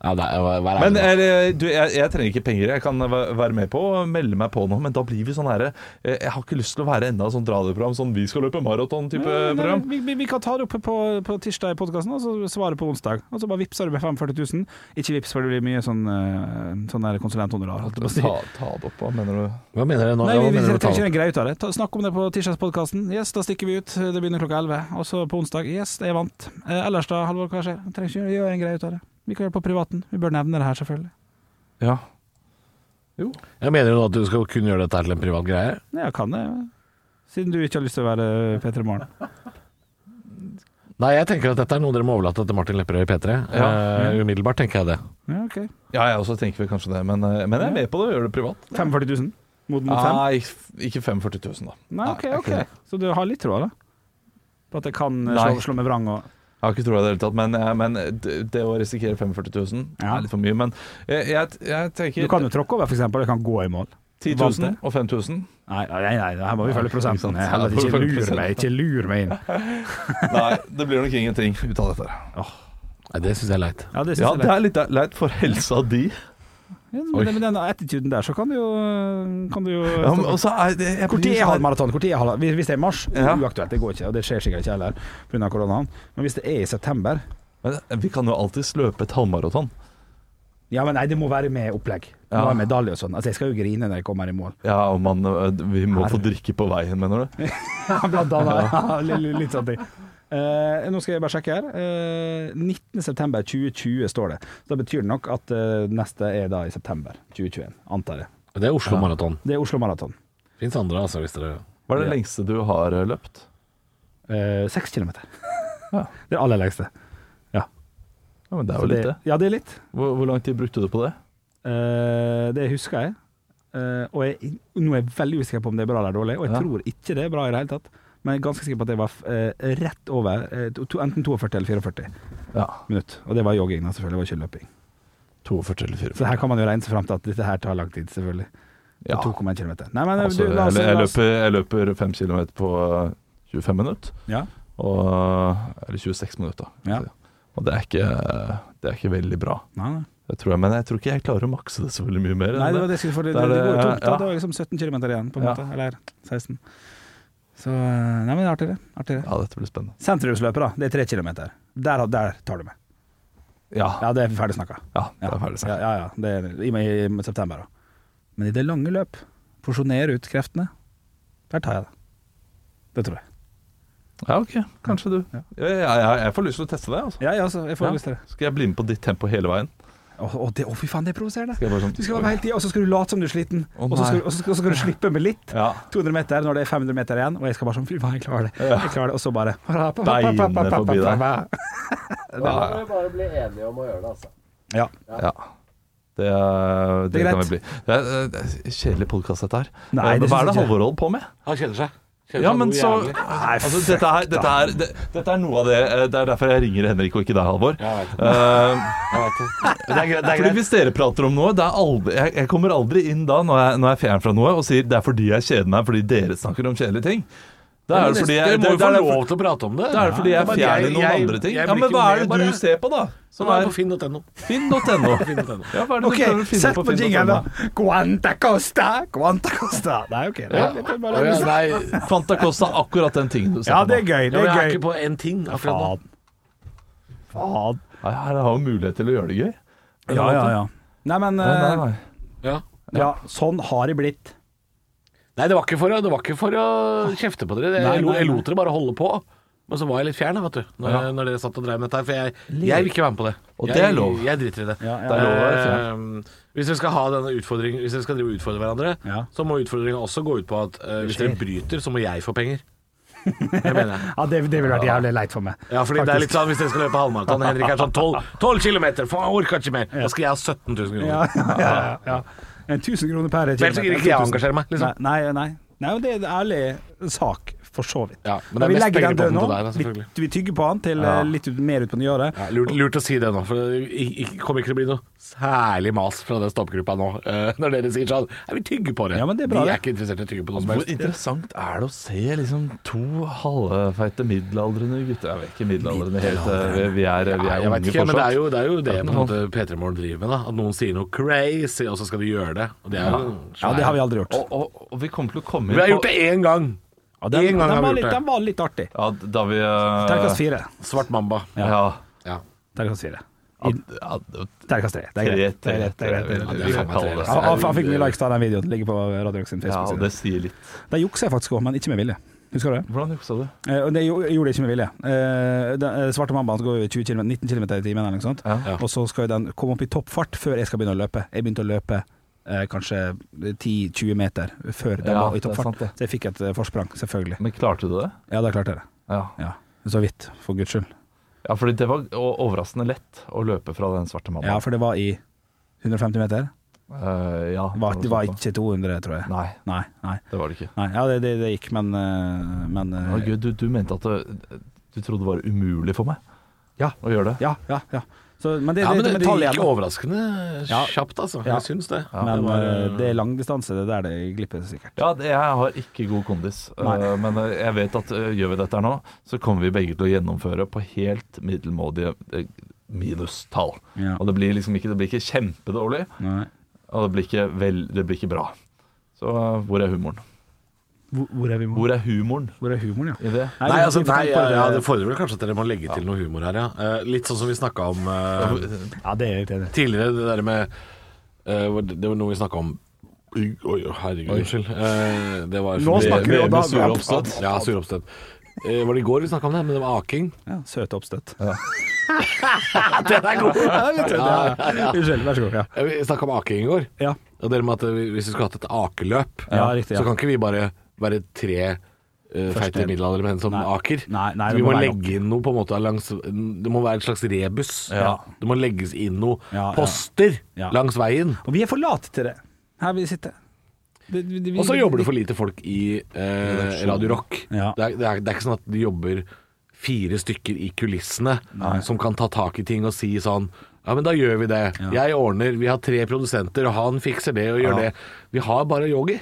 [SPEAKER 6] Ja, det er, vær- vær ærlig
[SPEAKER 5] Men eh,
[SPEAKER 6] nå.
[SPEAKER 5] er, det- du, jeg, jeg trenger ikke penger. Jeg kan væ- være med på og melde meg på nå, men da blir vi sånn herre eh, Jeg har ikke lyst til å være enda et sånt radioprogram, sånn 'vi skal løpe maraton'-type
[SPEAKER 4] Nei, nei,
[SPEAKER 5] program.
[SPEAKER 4] Vi, vi, vi kan ta det opp på, på tirsdag i podkasten, og så svare på onsdag. Og så bare vippser du med 45 000. Ikke vips, for det blir mye sånn, eh, sånn der konsulenthonorar. holdt jeg på å si.
[SPEAKER 5] Ta, ta det opp, hva mener du?
[SPEAKER 6] Hva mener dere nå?
[SPEAKER 4] Nei,
[SPEAKER 6] Hva
[SPEAKER 4] vi, vi
[SPEAKER 6] mener dere
[SPEAKER 4] trenger
[SPEAKER 6] med tall?
[SPEAKER 4] ikke en greie ut av det. Ta, snakk om det på tirsdagspodkasten. Yes, da stikker vi ut. Det begynner klokka 11. Og så på onsdag. Yes, jeg vant. Eh, ellers da, Halvor, hva skjer? Trenger ikke gjøre en greie ut av det. Vi kan gjøre det på privaten. Vi bør nevne det her, selvfølgelig.
[SPEAKER 5] Ja.
[SPEAKER 6] Jeg mener jo nå at du skal kunne gjøre dette her til en privat greie.
[SPEAKER 4] Nei, jeg kan det. Siden du ikke har lyst til å være P3 Morgen.
[SPEAKER 6] Nei, jeg tenker at dette er noe dere må overlate til Martin Lepperød i P3.
[SPEAKER 5] Ja.
[SPEAKER 6] Eh,
[SPEAKER 5] Mm.
[SPEAKER 6] umiddelbart tenker jeg det.
[SPEAKER 4] Ja, OK.
[SPEAKER 5] ja, jeg også tenker vel kanskje det, men, eh, men jeg er med på det og gjør det privat.
[SPEAKER 4] 45 000 mot, mot 5?
[SPEAKER 5] Nei, ikke 45 000, da.
[SPEAKER 4] Nei, OK,
[SPEAKER 5] Ah, Nei,
[SPEAKER 4] ok.
[SPEAKER 5] ikke det.
[SPEAKER 4] Så du har litt tråd, da? På at jeg kan eh,
[SPEAKER 5] Nei.
[SPEAKER 4] slå, slå med vrang og
[SPEAKER 5] Jeg har ikke troa i det hele tatt, men, eh, men det, det å risikere 45 000
[SPEAKER 4] Ja.
[SPEAKER 5] er litt for mye. Men jeg, jeg, jeg
[SPEAKER 4] Du
[SPEAKER 5] tenker
[SPEAKER 4] kan jo tråkke over, for eksempel. Du kan gå i mål.
[SPEAKER 5] 10 000 og 5000.
[SPEAKER 4] Nei, nei, nei, nei, her må vi følge
[SPEAKER 5] sant.
[SPEAKER 4] prosenten.
[SPEAKER 5] Her må vi
[SPEAKER 4] Ikke
[SPEAKER 5] følge
[SPEAKER 4] lur
[SPEAKER 5] prosenten.
[SPEAKER 4] meg, ikke lur meg inn.
[SPEAKER 5] Nei, det blir nok ingenting ut av dette. her.
[SPEAKER 6] Nei, det syns jeg er leit.
[SPEAKER 4] Ja, det synes
[SPEAKER 5] Ja,
[SPEAKER 4] jeg
[SPEAKER 5] det er litt leit for helsa di.
[SPEAKER 4] Ja, men med den attituden der, så kan du jo, kan du jo
[SPEAKER 5] Ja, men også er det jeg
[SPEAKER 4] Hvor
[SPEAKER 5] blir
[SPEAKER 4] tid er
[SPEAKER 5] sånn her-
[SPEAKER 4] halvmaraton? Hvor tid er halv... Hvis det er i mars, det
[SPEAKER 5] Ja.
[SPEAKER 4] er uaktuelt. Det går ikke, og det skjer sikkert ikke heller pga. koronaen. Men hvis det er i september
[SPEAKER 5] Men eh, vi kan jo alltids løpe et halvmaraton.
[SPEAKER 4] Ja, men nei, det må være med opplegg. Det må
[SPEAKER 5] Ja.
[SPEAKER 4] være medalje og sånn. Altså, jeg skal jo grine når jeg kommer i mål.
[SPEAKER 5] Ja, og man, ø, vi må få drikke på veien, mener du?
[SPEAKER 4] Blant annet. Ja, li- li- litt sånn ting. Eh, nå skal jeg bare sjekke her. Eh, 19. september 2020 står det. Så Da betyr det nok at eh, neste er da i september 2021, antar jeg.
[SPEAKER 6] Det er Oslo Maraton.
[SPEAKER 4] Det er Oslo Maraton.
[SPEAKER 6] Fins andre, altså, hvis dere
[SPEAKER 5] Hva er det
[SPEAKER 4] Ja.
[SPEAKER 5] lengste du har ø, løpt?
[SPEAKER 4] Eh, Seks kilometer.
[SPEAKER 5] Ja.
[SPEAKER 4] Det er aller lengste.
[SPEAKER 5] Ja, men Det er jo litt, det.
[SPEAKER 4] Ja, det er litt.
[SPEAKER 5] Hvor, hvor lang tid brukte du på det?
[SPEAKER 4] Eh, det husker jeg. Eh, og jeg, nå er jeg veldig usikker på om det er bra eller dårlig, og jeg
[SPEAKER 5] Ja.
[SPEAKER 4] tror ikke det er bra i det hele tatt. Men jeg er ganske sikker på at det var eh, rett over, eh, to, enten 42 eller 44
[SPEAKER 5] Ja.
[SPEAKER 4] minutter. Og det var jogging, da, selvfølgelig. Det var ikke løping.
[SPEAKER 5] 42 eller 44.
[SPEAKER 4] Så her kan man jo regne seg fram til at dette her tar lang tid, selvfølgelig.
[SPEAKER 5] Ja.
[SPEAKER 4] Ja. 2,1 km. Nei, men eh,
[SPEAKER 5] Altså,
[SPEAKER 4] du,
[SPEAKER 5] jeg,
[SPEAKER 4] la oss,
[SPEAKER 5] jeg,
[SPEAKER 4] la oss
[SPEAKER 5] løper, jeg løper 5 km på eh, 25 minutter.
[SPEAKER 4] ja.
[SPEAKER 5] Og, eller 26 minutter.
[SPEAKER 4] Ja.
[SPEAKER 5] Og det er, ikke, det er ikke veldig bra.
[SPEAKER 4] Nei, nei.
[SPEAKER 5] Jeg tror jeg, men jeg tror ikke jeg klarer å makse det så veldig mye mer. enn
[SPEAKER 4] Nei, det var det jeg skulle for det,
[SPEAKER 5] Det er
[SPEAKER 4] det,
[SPEAKER 5] det-
[SPEAKER 4] går jo tungt. Da
[SPEAKER 5] ja.
[SPEAKER 4] det var liksom 17 km igjen, på en
[SPEAKER 5] Ja.
[SPEAKER 4] måte. Eller 16. Så eh, Nei, men det er artigere. artigere.
[SPEAKER 5] Ja, dette blir spennende.
[SPEAKER 4] Sentrumsløpet, da. Det er 3 km. Der, der tar du meg.
[SPEAKER 5] Ja, ja,
[SPEAKER 4] Ja, det er ferdig snakka.
[SPEAKER 5] det er ferdig
[SPEAKER 4] Ja,
[SPEAKER 5] snart.
[SPEAKER 4] ja, ja. Det er, i, i, I september, da. Men i det lange løp, porsjonere ut kreftene, der tar jeg det. Det tror jeg.
[SPEAKER 5] Ja, ok. Kanskje du. Ja, ja, ja, jeg får lyst til å teste det. altså.
[SPEAKER 4] Ja, ja, altså, jeg får lyst til det.
[SPEAKER 5] Skal jeg bli med på ditt tempo hele veien?
[SPEAKER 4] Å, å, det, å fy faen, det er provoserende.
[SPEAKER 5] Skal jeg bare sånn-
[SPEAKER 4] Du skal være helt i, og så skal du late som du er sliten,
[SPEAKER 5] Å,
[SPEAKER 4] og så skal,
[SPEAKER 5] nei.
[SPEAKER 4] du- og så skal, og så skal du slippe med litt.
[SPEAKER 5] Ja.
[SPEAKER 4] 200 meter når det er 500 meter igjen, og jeg skal bare sånn Fy faen, jeg klarer det. Jeg klarer det, Og så bare
[SPEAKER 5] Beinet forbi deg.
[SPEAKER 7] Da må vi bare bli enige om å gjøre det, altså.
[SPEAKER 4] Ja.
[SPEAKER 5] Ja. Det, er-
[SPEAKER 4] Det
[SPEAKER 5] det
[SPEAKER 4] er
[SPEAKER 5] kan
[SPEAKER 4] greit.
[SPEAKER 5] vi bli. Det er, det er kjedelig podkast, dette her.
[SPEAKER 4] Nei,
[SPEAKER 5] Eh,
[SPEAKER 4] det synes
[SPEAKER 5] men Hva er det
[SPEAKER 4] jeg ikke.
[SPEAKER 5] Halvor holder på med?
[SPEAKER 6] Han kjeder seg. Kjeder
[SPEAKER 5] Ja,
[SPEAKER 6] seg
[SPEAKER 5] men
[SPEAKER 6] noe
[SPEAKER 5] så
[SPEAKER 6] jævlig.
[SPEAKER 5] altså, dette, er, dette, er, det, dette er noe av det eh, Det er derfor jeg ringer Henrik og ikke deg, Halvor.
[SPEAKER 6] Jeg vet det.
[SPEAKER 5] Eh,
[SPEAKER 6] Jeg vet det. Det er greit. Det er
[SPEAKER 5] fordi
[SPEAKER 6] greit.
[SPEAKER 5] Hvis dere prater om noe det er aldri, jeg, jeg kommer aldri inn da når jeg, når jeg er fjern fra noe og sier det er fordi jeg kjeder meg fordi dere snakker om kjedelige ting. Det er det fordi jeg,
[SPEAKER 6] Dere må
[SPEAKER 5] det,
[SPEAKER 6] jo
[SPEAKER 5] det
[SPEAKER 6] få
[SPEAKER 5] er derfor-
[SPEAKER 6] lov til å prate om det.
[SPEAKER 5] det er fordi jeg er
[SPEAKER 6] men
[SPEAKER 5] fjern i
[SPEAKER 6] jeg-
[SPEAKER 5] noen
[SPEAKER 6] jeg-
[SPEAKER 5] andre ting.
[SPEAKER 6] jeg
[SPEAKER 5] Ja,
[SPEAKER 6] blir
[SPEAKER 5] Men
[SPEAKER 6] ikke
[SPEAKER 5] hva er
[SPEAKER 6] med,
[SPEAKER 5] det
[SPEAKER 6] bare.
[SPEAKER 5] du ser på, da?
[SPEAKER 6] Som
[SPEAKER 5] Som
[SPEAKER 6] er
[SPEAKER 5] er
[SPEAKER 6] på finn.no.
[SPEAKER 5] finn.no. Ja, hva er det du
[SPEAKER 4] OK,
[SPEAKER 5] prøver å finne
[SPEAKER 4] sett
[SPEAKER 5] på sånn-
[SPEAKER 4] på
[SPEAKER 5] finn.no?
[SPEAKER 4] jingelen, da. Quanta Costa, Quanta Costa. Nei, OK. Det er, det er
[SPEAKER 6] Å,
[SPEAKER 4] bare,
[SPEAKER 6] liksom- ja, Nei,
[SPEAKER 5] Fanta Costa, akkurat den tingen du
[SPEAKER 4] ja,
[SPEAKER 5] ser
[SPEAKER 4] det er
[SPEAKER 5] på. nå.
[SPEAKER 4] gøy.
[SPEAKER 6] ja, men
[SPEAKER 4] Det
[SPEAKER 6] jeg
[SPEAKER 4] er
[SPEAKER 6] er
[SPEAKER 4] gøy.
[SPEAKER 6] ikke på én ting akkurat nå.
[SPEAKER 4] Faen. Faen.
[SPEAKER 5] Nei, Her har jo mulighet til å gjøre det gøy.
[SPEAKER 4] Ja, ja, ja. Nei, men
[SPEAKER 5] Nei,
[SPEAKER 4] eh,
[SPEAKER 5] nei, nei.
[SPEAKER 6] Ja.
[SPEAKER 4] ja, sånn har det blitt.
[SPEAKER 6] Nei, det var ikke for å, det var ikke for å kjefte på dere. Jeg,
[SPEAKER 4] Nei,
[SPEAKER 6] lo-
[SPEAKER 4] nei,
[SPEAKER 6] jeg
[SPEAKER 4] nei.
[SPEAKER 6] lot dere bare holde på. Men så var jeg litt fjern, da, vet du, når,
[SPEAKER 5] Ja.
[SPEAKER 6] jeg- når dere satt og drev med dette her. For jeg, jeg vil ikke være med på det.
[SPEAKER 5] Og
[SPEAKER 6] jeg,
[SPEAKER 5] det er lov.
[SPEAKER 6] Jeg driter i det.
[SPEAKER 4] Ja, ja.
[SPEAKER 5] Det er lov å være
[SPEAKER 6] Eh, hvis dere skal ha denne utfordringen Hvis dere skal drive og utfordre hverandre,
[SPEAKER 4] Ja.
[SPEAKER 6] så må utfordringen også gå ut på at eh, hvis dere bryter, så må jeg få penger. Det mener jeg.
[SPEAKER 4] Ja, det, det ville vært jævlig leit for meg.
[SPEAKER 6] Ja, fordi det er litt sånn Hvis dere skal løpe halvmaraton Henrik er sånn 12, 12 km, faen, jeg orker ikke mer. Da skal jeg ha 17 000 kroner.
[SPEAKER 4] Ja, ja, ja, ja. En 1000 kroner per
[SPEAKER 6] Men ellers gidder ikke jeg å engasjere meg, liksom.
[SPEAKER 4] Nei, nei. nei. nei og det er en ærlig sak, for så vidt.
[SPEAKER 6] Ja, men det er
[SPEAKER 4] vi
[SPEAKER 6] mest
[SPEAKER 4] legger den
[SPEAKER 6] penger på
[SPEAKER 4] død
[SPEAKER 6] den
[SPEAKER 4] nå.
[SPEAKER 6] til deg, da,
[SPEAKER 4] Vi,
[SPEAKER 6] selvfølgelig.
[SPEAKER 4] vi tygger på den til eh, litt ut, mer ut på nyåret.
[SPEAKER 6] Ja, lurt, lurt å si det nå, for det ikke- kommer ikke til å bli noe særlig mas fra den stoppgruppa nå. eh, når dere sier sånn Nei, vi tygger på det.
[SPEAKER 4] Ja, men det er bra,
[SPEAKER 6] De er
[SPEAKER 4] det.
[SPEAKER 6] ikke interessert i å tygge på noe som
[SPEAKER 5] Hvor
[SPEAKER 6] helst.
[SPEAKER 5] interessant er det å se liksom to halvfeite middelaldrende gutter Jeg vet ikke middelaldrende helt, eh, vi- vi er, vi
[SPEAKER 6] Nei,
[SPEAKER 5] er
[SPEAKER 6] jeg vet ikke,
[SPEAKER 5] unge
[SPEAKER 6] men det er
[SPEAKER 5] fortsatt.
[SPEAKER 6] jo det, er jo det på en måte P3 Morgen driver med. da At noen sier noe crazy, og så skal de gjøre det. Og det er jo
[SPEAKER 4] Ja, det har vi aldri gjort.
[SPEAKER 5] Og, og, og vi kommer til å
[SPEAKER 6] Vi
[SPEAKER 5] komme
[SPEAKER 6] har
[SPEAKER 5] inn
[SPEAKER 6] gjort
[SPEAKER 5] på
[SPEAKER 6] det én gang.
[SPEAKER 4] Ja,
[SPEAKER 6] en gang har vi
[SPEAKER 4] var
[SPEAKER 6] gjort
[SPEAKER 4] litt,
[SPEAKER 6] det.
[SPEAKER 4] den var litt artig.
[SPEAKER 5] ja, da vi eh,
[SPEAKER 4] Terningkast fire.
[SPEAKER 6] Svart mamba.
[SPEAKER 5] Ja.
[SPEAKER 6] Ja.
[SPEAKER 4] Terningkast fire.
[SPEAKER 5] ja, ja, det-
[SPEAKER 4] Terningkast tre. Det er
[SPEAKER 5] Tre,
[SPEAKER 4] greit. Det
[SPEAKER 5] tre,
[SPEAKER 4] er greit, det
[SPEAKER 5] tre,
[SPEAKER 4] er greit, det er greit.
[SPEAKER 5] vil
[SPEAKER 6] det er
[SPEAKER 5] jeg
[SPEAKER 6] faen meg
[SPEAKER 5] kalle det.
[SPEAKER 6] tre,
[SPEAKER 4] Ja,
[SPEAKER 6] altså.
[SPEAKER 4] han- Han fikk mye likes av den videoen. Den ligger på Radio Rock sin
[SPEAKER 5] Ja, og
[SPEAKER 4] Facebook-side.
[SPEAKER 5] det sier litt.
[SPEAKER 4] Der jukser jeg faktisk òg, men ikke med vilje. Husker du det?
[SPEAKER 5] Hvordan juksa du?
[SPEAKER 4] Eh, Og det gjo- gjorde jeg ikke med vilje. Eh, Den eh, svarte mambaen går jo i 20 km, 19 km i timen, eller noe sånt.
[SPEAKER 5] Ja.
[SPEAKER 4] Og så skal jo den komme opp i toppfart før jeg skal begynne å løpe. Jeg begynte å løpe eh, kanskje 10-20 meter før den
[SPEAKER 5] Ja,
[SPEAKER 4] var i
[SPEAKER 5] det er
[SPEAKER 4] toppfart.
[SPEAKER 5] sant det.
[SPEAKER 4] så jeg fikk et eh, forsprang, selvfølgelig.
[SPEAKER 5] Men klarte du det?
[SPEAKER 4] Ja, da klarte jeg det.
[SPEAKER 5] Ja.
[SPEAKER 4] Ja. Så vidt, for guds skyld.
[SPEAKER 5] ja, fordi det var o- overraskende lett å løpe fra den svarte mannen.
[SPEAKER 4] Ja, for det var i 150 meter.
[SPEAKER 5] Eh, ja,
[SPEAKER 4] Det var, det var
[SPEAKER 5] noe sånt da.
[SPEAKER 4] ikke 200, tror jeg.
[SPEAKER 5] Nei,
[SPEAKER 4] Nei. nei,
[SPEAKER 5] det var det ikke.
[SPEAKER 4] nei. Ja, det, det, det gikk, men, eh, men eh,
[SPEAKER 5] Å, Gud, du, du mente at det, du trodde det var umulig for meg
[SPEAKER 4] Ja.
[SPEAKER 5] å gjøre det?
[SPEAKER 4] Ja, ja. ja. Så, men det,
[SPEAKER 6] Ja,
[SPEAKER 4] det,
[SPEAKER 6] men det,
[SPEAKER 4] det,
[SPEAKER 6] det
[SPEAKER 4] tallet
[SPEAKER 6] gikk
[SPEAKER 4] igjen, da.
[SPEAKER 6] overraskende
[SPEAKER 4] Ja.
[SPEAKER 6] kjapt, altså.
[SPEAKER 4] Ja.
[SPEAKER 6] Jeg syns det.
[SPEAKER 4] Men
[SPEAKER 6] det var,
[SPEAKER 4] eh, det er langdistanse, det er der det glipper sikkert.
[SPEAKER 5] Ja, det- jeg har ikke god kondis,
[SPEAKER 4] Nei.
[SPEAKER 5] Eh, men eh, jeg vet at eh, gjør vi dette her nå, så kommer vi begge til å gjennomføre på helt middelmådige eh, minustall.
[SPEAKER 4] Ja.
[SPEAKER 5] Og det blir liksom ikke, det blir ikke kjempedårlig,
[SPEAKER 4] Nei.
[SPEAKER 5] og det blir ikke, vel, det blir ikke bra. Så eh, hvor er humoren?
[SPEAKER 4] Hvor, hvor er vi
[SPEAKER 5] Hvor er humoren
[SPEAKER 4] Hvor er humoren, ja?
[SPEAKER 5] i det?
[SPEAKER 6] Nei, altså,
[SPEAKER 4] vi- vi-
[SPEAKER 6] nei,
[SPEAKER 4] vi-
[SPEAKER 6] ja, ja, det fordrer vel kanskje at dere må legge til noe humor her, ja. Eh, Litt sånn som vi snakka om eh,
[SPEAKER 4] ja, det er jeg helt enig i.
[SPEAKER 6] tidligere, det der med eh, hvor- Det var noe vi snakka om Oi, oi, herregud, unnskyld. Eh, det var
[SPEAKER 4] Nå snakker vi, og da-
[SPEAKER 5] med sure oppstøt.
[SPEAKER 6] Ja, sure oppstøt. Eh, var det i går vi snakka om det? Men det var aking.
[SPEAKER 4] Ja, søt oppstøtt.
[SPEAKER 6] Det er god!
[SPEAKER 4] Unnskyld, vær så god. Ja.
[SPEAKER 6] Eh, Vi snakka om aking i går.
[SPEAKER 4] Ja.
[SPEAKER 6] Og det med at vi- hvis vi skulle hatt et akeløp,
[SPEAKER 4] Ja, riktig, ja.
[SPEAKER 6] så kan ikke vi bare være tre eh, feite
[SPEAKER 4] ned.
[SPEAKER 6] middelaldrende menn som
[SPEAKER 4] Nei.
[SPEAKER 6] aker.
[SPEAKER 4] Nei, nei,
[SPEAKER 6] vi
[SPEAKER 4] det
[SPEAKER 6] må,
[SPEAKER 4] må være nok.
[SPEAKER 6] legge inn noe på en måte langs Det må være et slags rebus.
[SPEAKER 4] Ja.
[SPEAKER 6] Det må legges inn noe
[SPEAKER 4] Ja, ja.
[SPEAKER 6] poster
[SPEAKER 4] Ja.
[SPEAKER 6] langs veien.
[SPEAKER 4] Og vi er for late til det, her vi sitter. Det- vi- vi-
[SPEAKER 6] Og så jobber det for lite folk i eh,
[SPEAKER 5] Redaksjonen.
[SPEAKER 6] Radio Rock.
[SPEAKER 4] Ja.
[SPEAKER 6] Det, er, det, er, det er ikke sånn at de jobber fire stykker i kulissene som kan ta tak i ting og si sånn Ja, men da gjør vi det. Jeg ordner. Vi har tre produsenter, og han fikser det og gjør det. Vi har bare Yogi.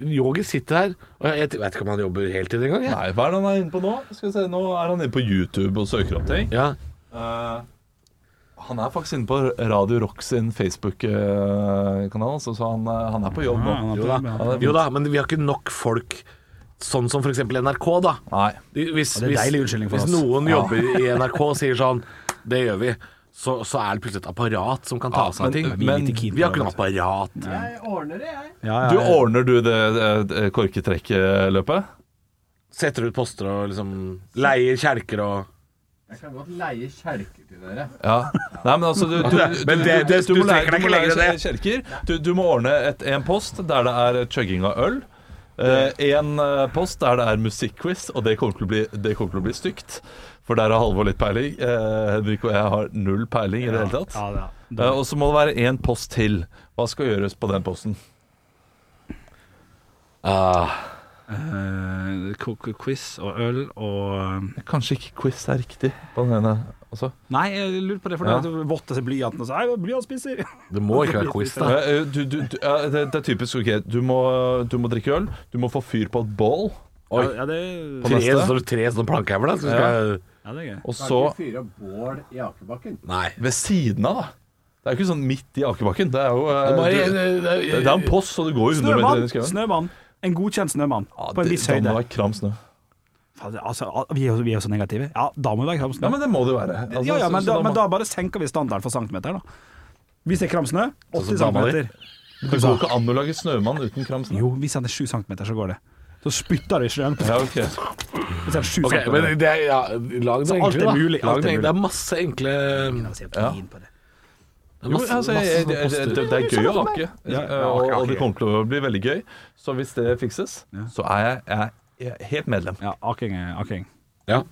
[SPEAKER 6] Yogi sitter her, og jeg vet ikke om han jobber heltid engang. jeg.
[SPEAKER 5] Nei, hva er det han er inne på nå? Skal vi se, Nå er han inne på YouTube og søker opp ting.
[SPEAKER 6] Ja.
[SPEAKER 5] Eh, han er faktisk inne på Radio Rock sin Facebook-kanal, så, så han, eh, han er på jobb nå.
[SPEAKER 4] Ja, han er på
[SPEAKER 5] Jo da.
[SPEAKER 4] jobb, ja.
[SPEAKER 5] Han er-
[SPEAKER 6] Jo da, men vi har ikke nok folk, sånn som f.eks. NRK, da.
[SPEAKER 5] Nei.
[SPEAKER 6] De- Hvis,
[SPEAKER 4] det er
[SPEAKER 6] hvis-
[SPEAKER 4] deilig unnskyldning for
[SPEAKER 6] hvis
[SPEAKER 4] oss.
[SPEAKER 6] noen jobber i NRK og sier sånn Det gjør vi. Så, så er det plutselig et apparat som kan ta
[SPEAKER 5] Ja,
[SPEAKER 4] Altså,
[SPEAKER 6] seg av
[SPEAKER 5] men-
[SPEAKER 6] ting.
[SPEAKER 5] vi er ikke
[SPEAKER 6] vi
[SPEAKER 4] keen på
[SPEAKER 6] har ikke noe apparat.
[SPEAKER 7] Jeg ordner det, jeg.
[SPEAKER 4] Ja, ja,
[SPEAKER 5] Du
[SPEAKER 4] ja.
[SPEAKER 5] ordner du det, det korketrekkløpet?
[SPEAKER 6] Setter ut poster og liksom leier kjelker og
[SPEAKER 7] Jeg kan godt leie kjerker til dere.
[SPEAKER 5] Ja. Nei, men altså Du, du, du,
[SPEAKER 6] Men det- det-
[SPEAKER 5] du,
[SPEAKER 6] du
[SPEAKER 5] må lære,
[SPEAKER 6] trekker deg
[SPEAKER 5] du må
[SPEAKER 6] ikke lenger
[SPEAKER 5] lære
[SPEAKER 6] enn
[SPEAKER 5] kjerker. Du, du må ordne et, en post der det er chugging av øl. eh, en eh, post der det er musikkquiz, og det kommer til å bli, det kommer til å bli stygt. For der har Halvor litt peiling. Eh, Henrik og jeg har null peiling i det hele tatt.
[SPEAKER 4] Ja, ja.
[SPEAKER 5] Eh, og så må det være én post til. Hva skal gjøres på den posten?
[SPEAKER 3] Eh, ko- ko- quiz og øl og
[SPEAKER 4] eh,
[SPEAKER 5] Kanskje ikke quiz er riktig på den ene også.
[SPEAKER 4] Nei, jeg lurer på det, for
[SPEAKER 5] Ja.
[SPEAKER 4] det er votter seg blyanten, og så er blyantspisser.
[SPEAKER 6] Det må ikke være quiz, da.
[SPEAKER 5] Eh, eh, Du, du, du, ja, det, det er typisk OK. Du må, du må drikke øl. Du må få fyr på et bål.
[SPEAKER 6] Oi.
[SPEAKER 4] Ja, det,
[SPEAKER 5] På
[SPEAKER 6] Tre,
[SPEAKER 5] neste.
[SPEAKER 6] står det tre sånne plankehævler, da. Så skal jeg
[SPEAKER 4] ja, det er gøy.
[SPEAKER 5] Og
[SPEAKER 7] Kan
[SPEAKER 5] så
[SPEAKER 7] ikke fyre opp bål i akebakken.
[SPEAKER 6] Nei.
[SPEAKER 5] ved siden av, da. Det er jo ikke sånn midt i akebakken. Det er jo eh, du, det, det er
[SPEAKER 6] Bare-
[SPEAKER 5] en post, så det går jo 100 meter
[SPEAKER 4] Snømann!
[SPEAKER 5] i skauen.
[SPEAKER 4] snømann. En godkjent snømann
[SPEAKER 5] Ja,
[SPEAKER 4] på en
[SPEAKER 5] det-
[SPEAKER 4] viss
[SPEAKER 5] Da må
[SPEAKER 4] høyde.
[SPEAKER 5] det være kram snø.
[SPEAKER 4] Faen, det- altså, al- vi, er jo, vi er jo så negative. Ja, da må det være kramsnø.
[SPEAKER 5] Ja, men det må det jo være. Altså,
[SPEAKER 4] ja, ja,
[SPEAKER 5] så-
[SPEAKER 4] men,
[SPEAKER 5] så
[SPEAKER 4] da,
[SPEAKER 5] må-
[SPEAKER 4] men da bare senker vi standarden for centimeter, da. Hvis det er kramsnø, 80
[SPEAKER 6] dama di.
[SPEAKER 4] centimeter.
[SPEAKER 5] Det går ikke an å lage snømann uten kram snø.
[SPEAKER 4] Jo, hvis han er 7 centimeter, så går det. Så spytter du i snøen.
[SPEAKER 5] Ja, ok.
[SPEAKER 4] Hvis han er 7
[SPEAKER 6] Ok,
[SPEAKER 4] centimeter.
[SPEAKER 6] men det er, ja, lag det
[SPEAKER 4] Så alt
[SPEAKER 6] enkle, da.
[SPEAKER 4] er mulig, alt
[SPEAKER 6] Lag
[SPEAKER 4] er
[SPEAKER 6] det,
[SPEAKER 4] mulig.
[SPEAKER 6] det er masse enkle
[SPEAKER 5] Ja. Jo,
[SPEAKER 6] masse,
[SPEAKER 5] altså,
[SPEAKER 6] masse
[SPEAKER 5] jeg,
[SPEAKER 6] sånne
[SPEAKER 5] jeg,
[SPEAKER 6] poster.
[SPEAKER 5] det, det er gøy å ake,
[SPEAKER 4] Ja,
[SPEAKER 5] eh,
[SPEAKER 4] ja,
[SPEAKER 5] og,
[SPEAKER 4] ake,
[SPEAKER 5] og det
[SPEAKER 4] ake.
[SPEAKER 5] kommer til å bli veldig gøy. Så hvis det fikses, så er jeg, jeg, jeg er helt medlem.
[SPEAKER 4] Ja, aking er aking.
[SPEAKER 6] Ja.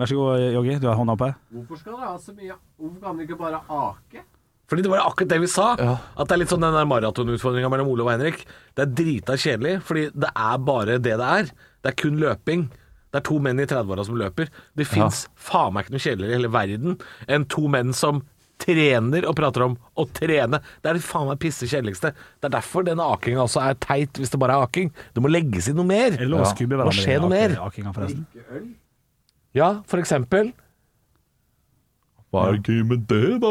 [SPEAKER 4] Vær så god, Joggi. Du har hånda oppe.
[SPEAKER 7] Hvorfor skal dere ha så mye Hvorfor kan dere ikke bare ake?
[SPEAKER 6] Fordi det var akkurat det vi sa.
[SPEAKER 5] Ja.
[SPEAKER 6] At det er litt sånn den der maratonutfordringa mellom Ole og Henrik. Det er drita kjedelig, fordi det er bare det det er. Det er kun løping. Det er to menn i 30-åra som løper. Det fins faen meg ikke noe kjedeligere i hele verden enn to menn som trener og prater om å trene. Det er det faen meg pisse kjedeligste. Det er derfor den akinga også er teit, hvis det bare er aking. Det må legges i noe mer.
[SPEAKER 4] Eller å
[SPEAKER 5] Ja.
[SPEAKER 4] skubbe
[SPEAKER 6] Hva
[SPEAKER 4] hverandre i
[SPEAKER 6] skjer noe
[SPEAKER 4] ake-
[SPEAKER 6] mer?
[SPEAKER 4] akinga, forresten.
[SPEAKER 7] Ikke øl?
[SPEAKER 6] Ja, for eksempel.
[SPEAKER 5] Hva er gøy med det, da?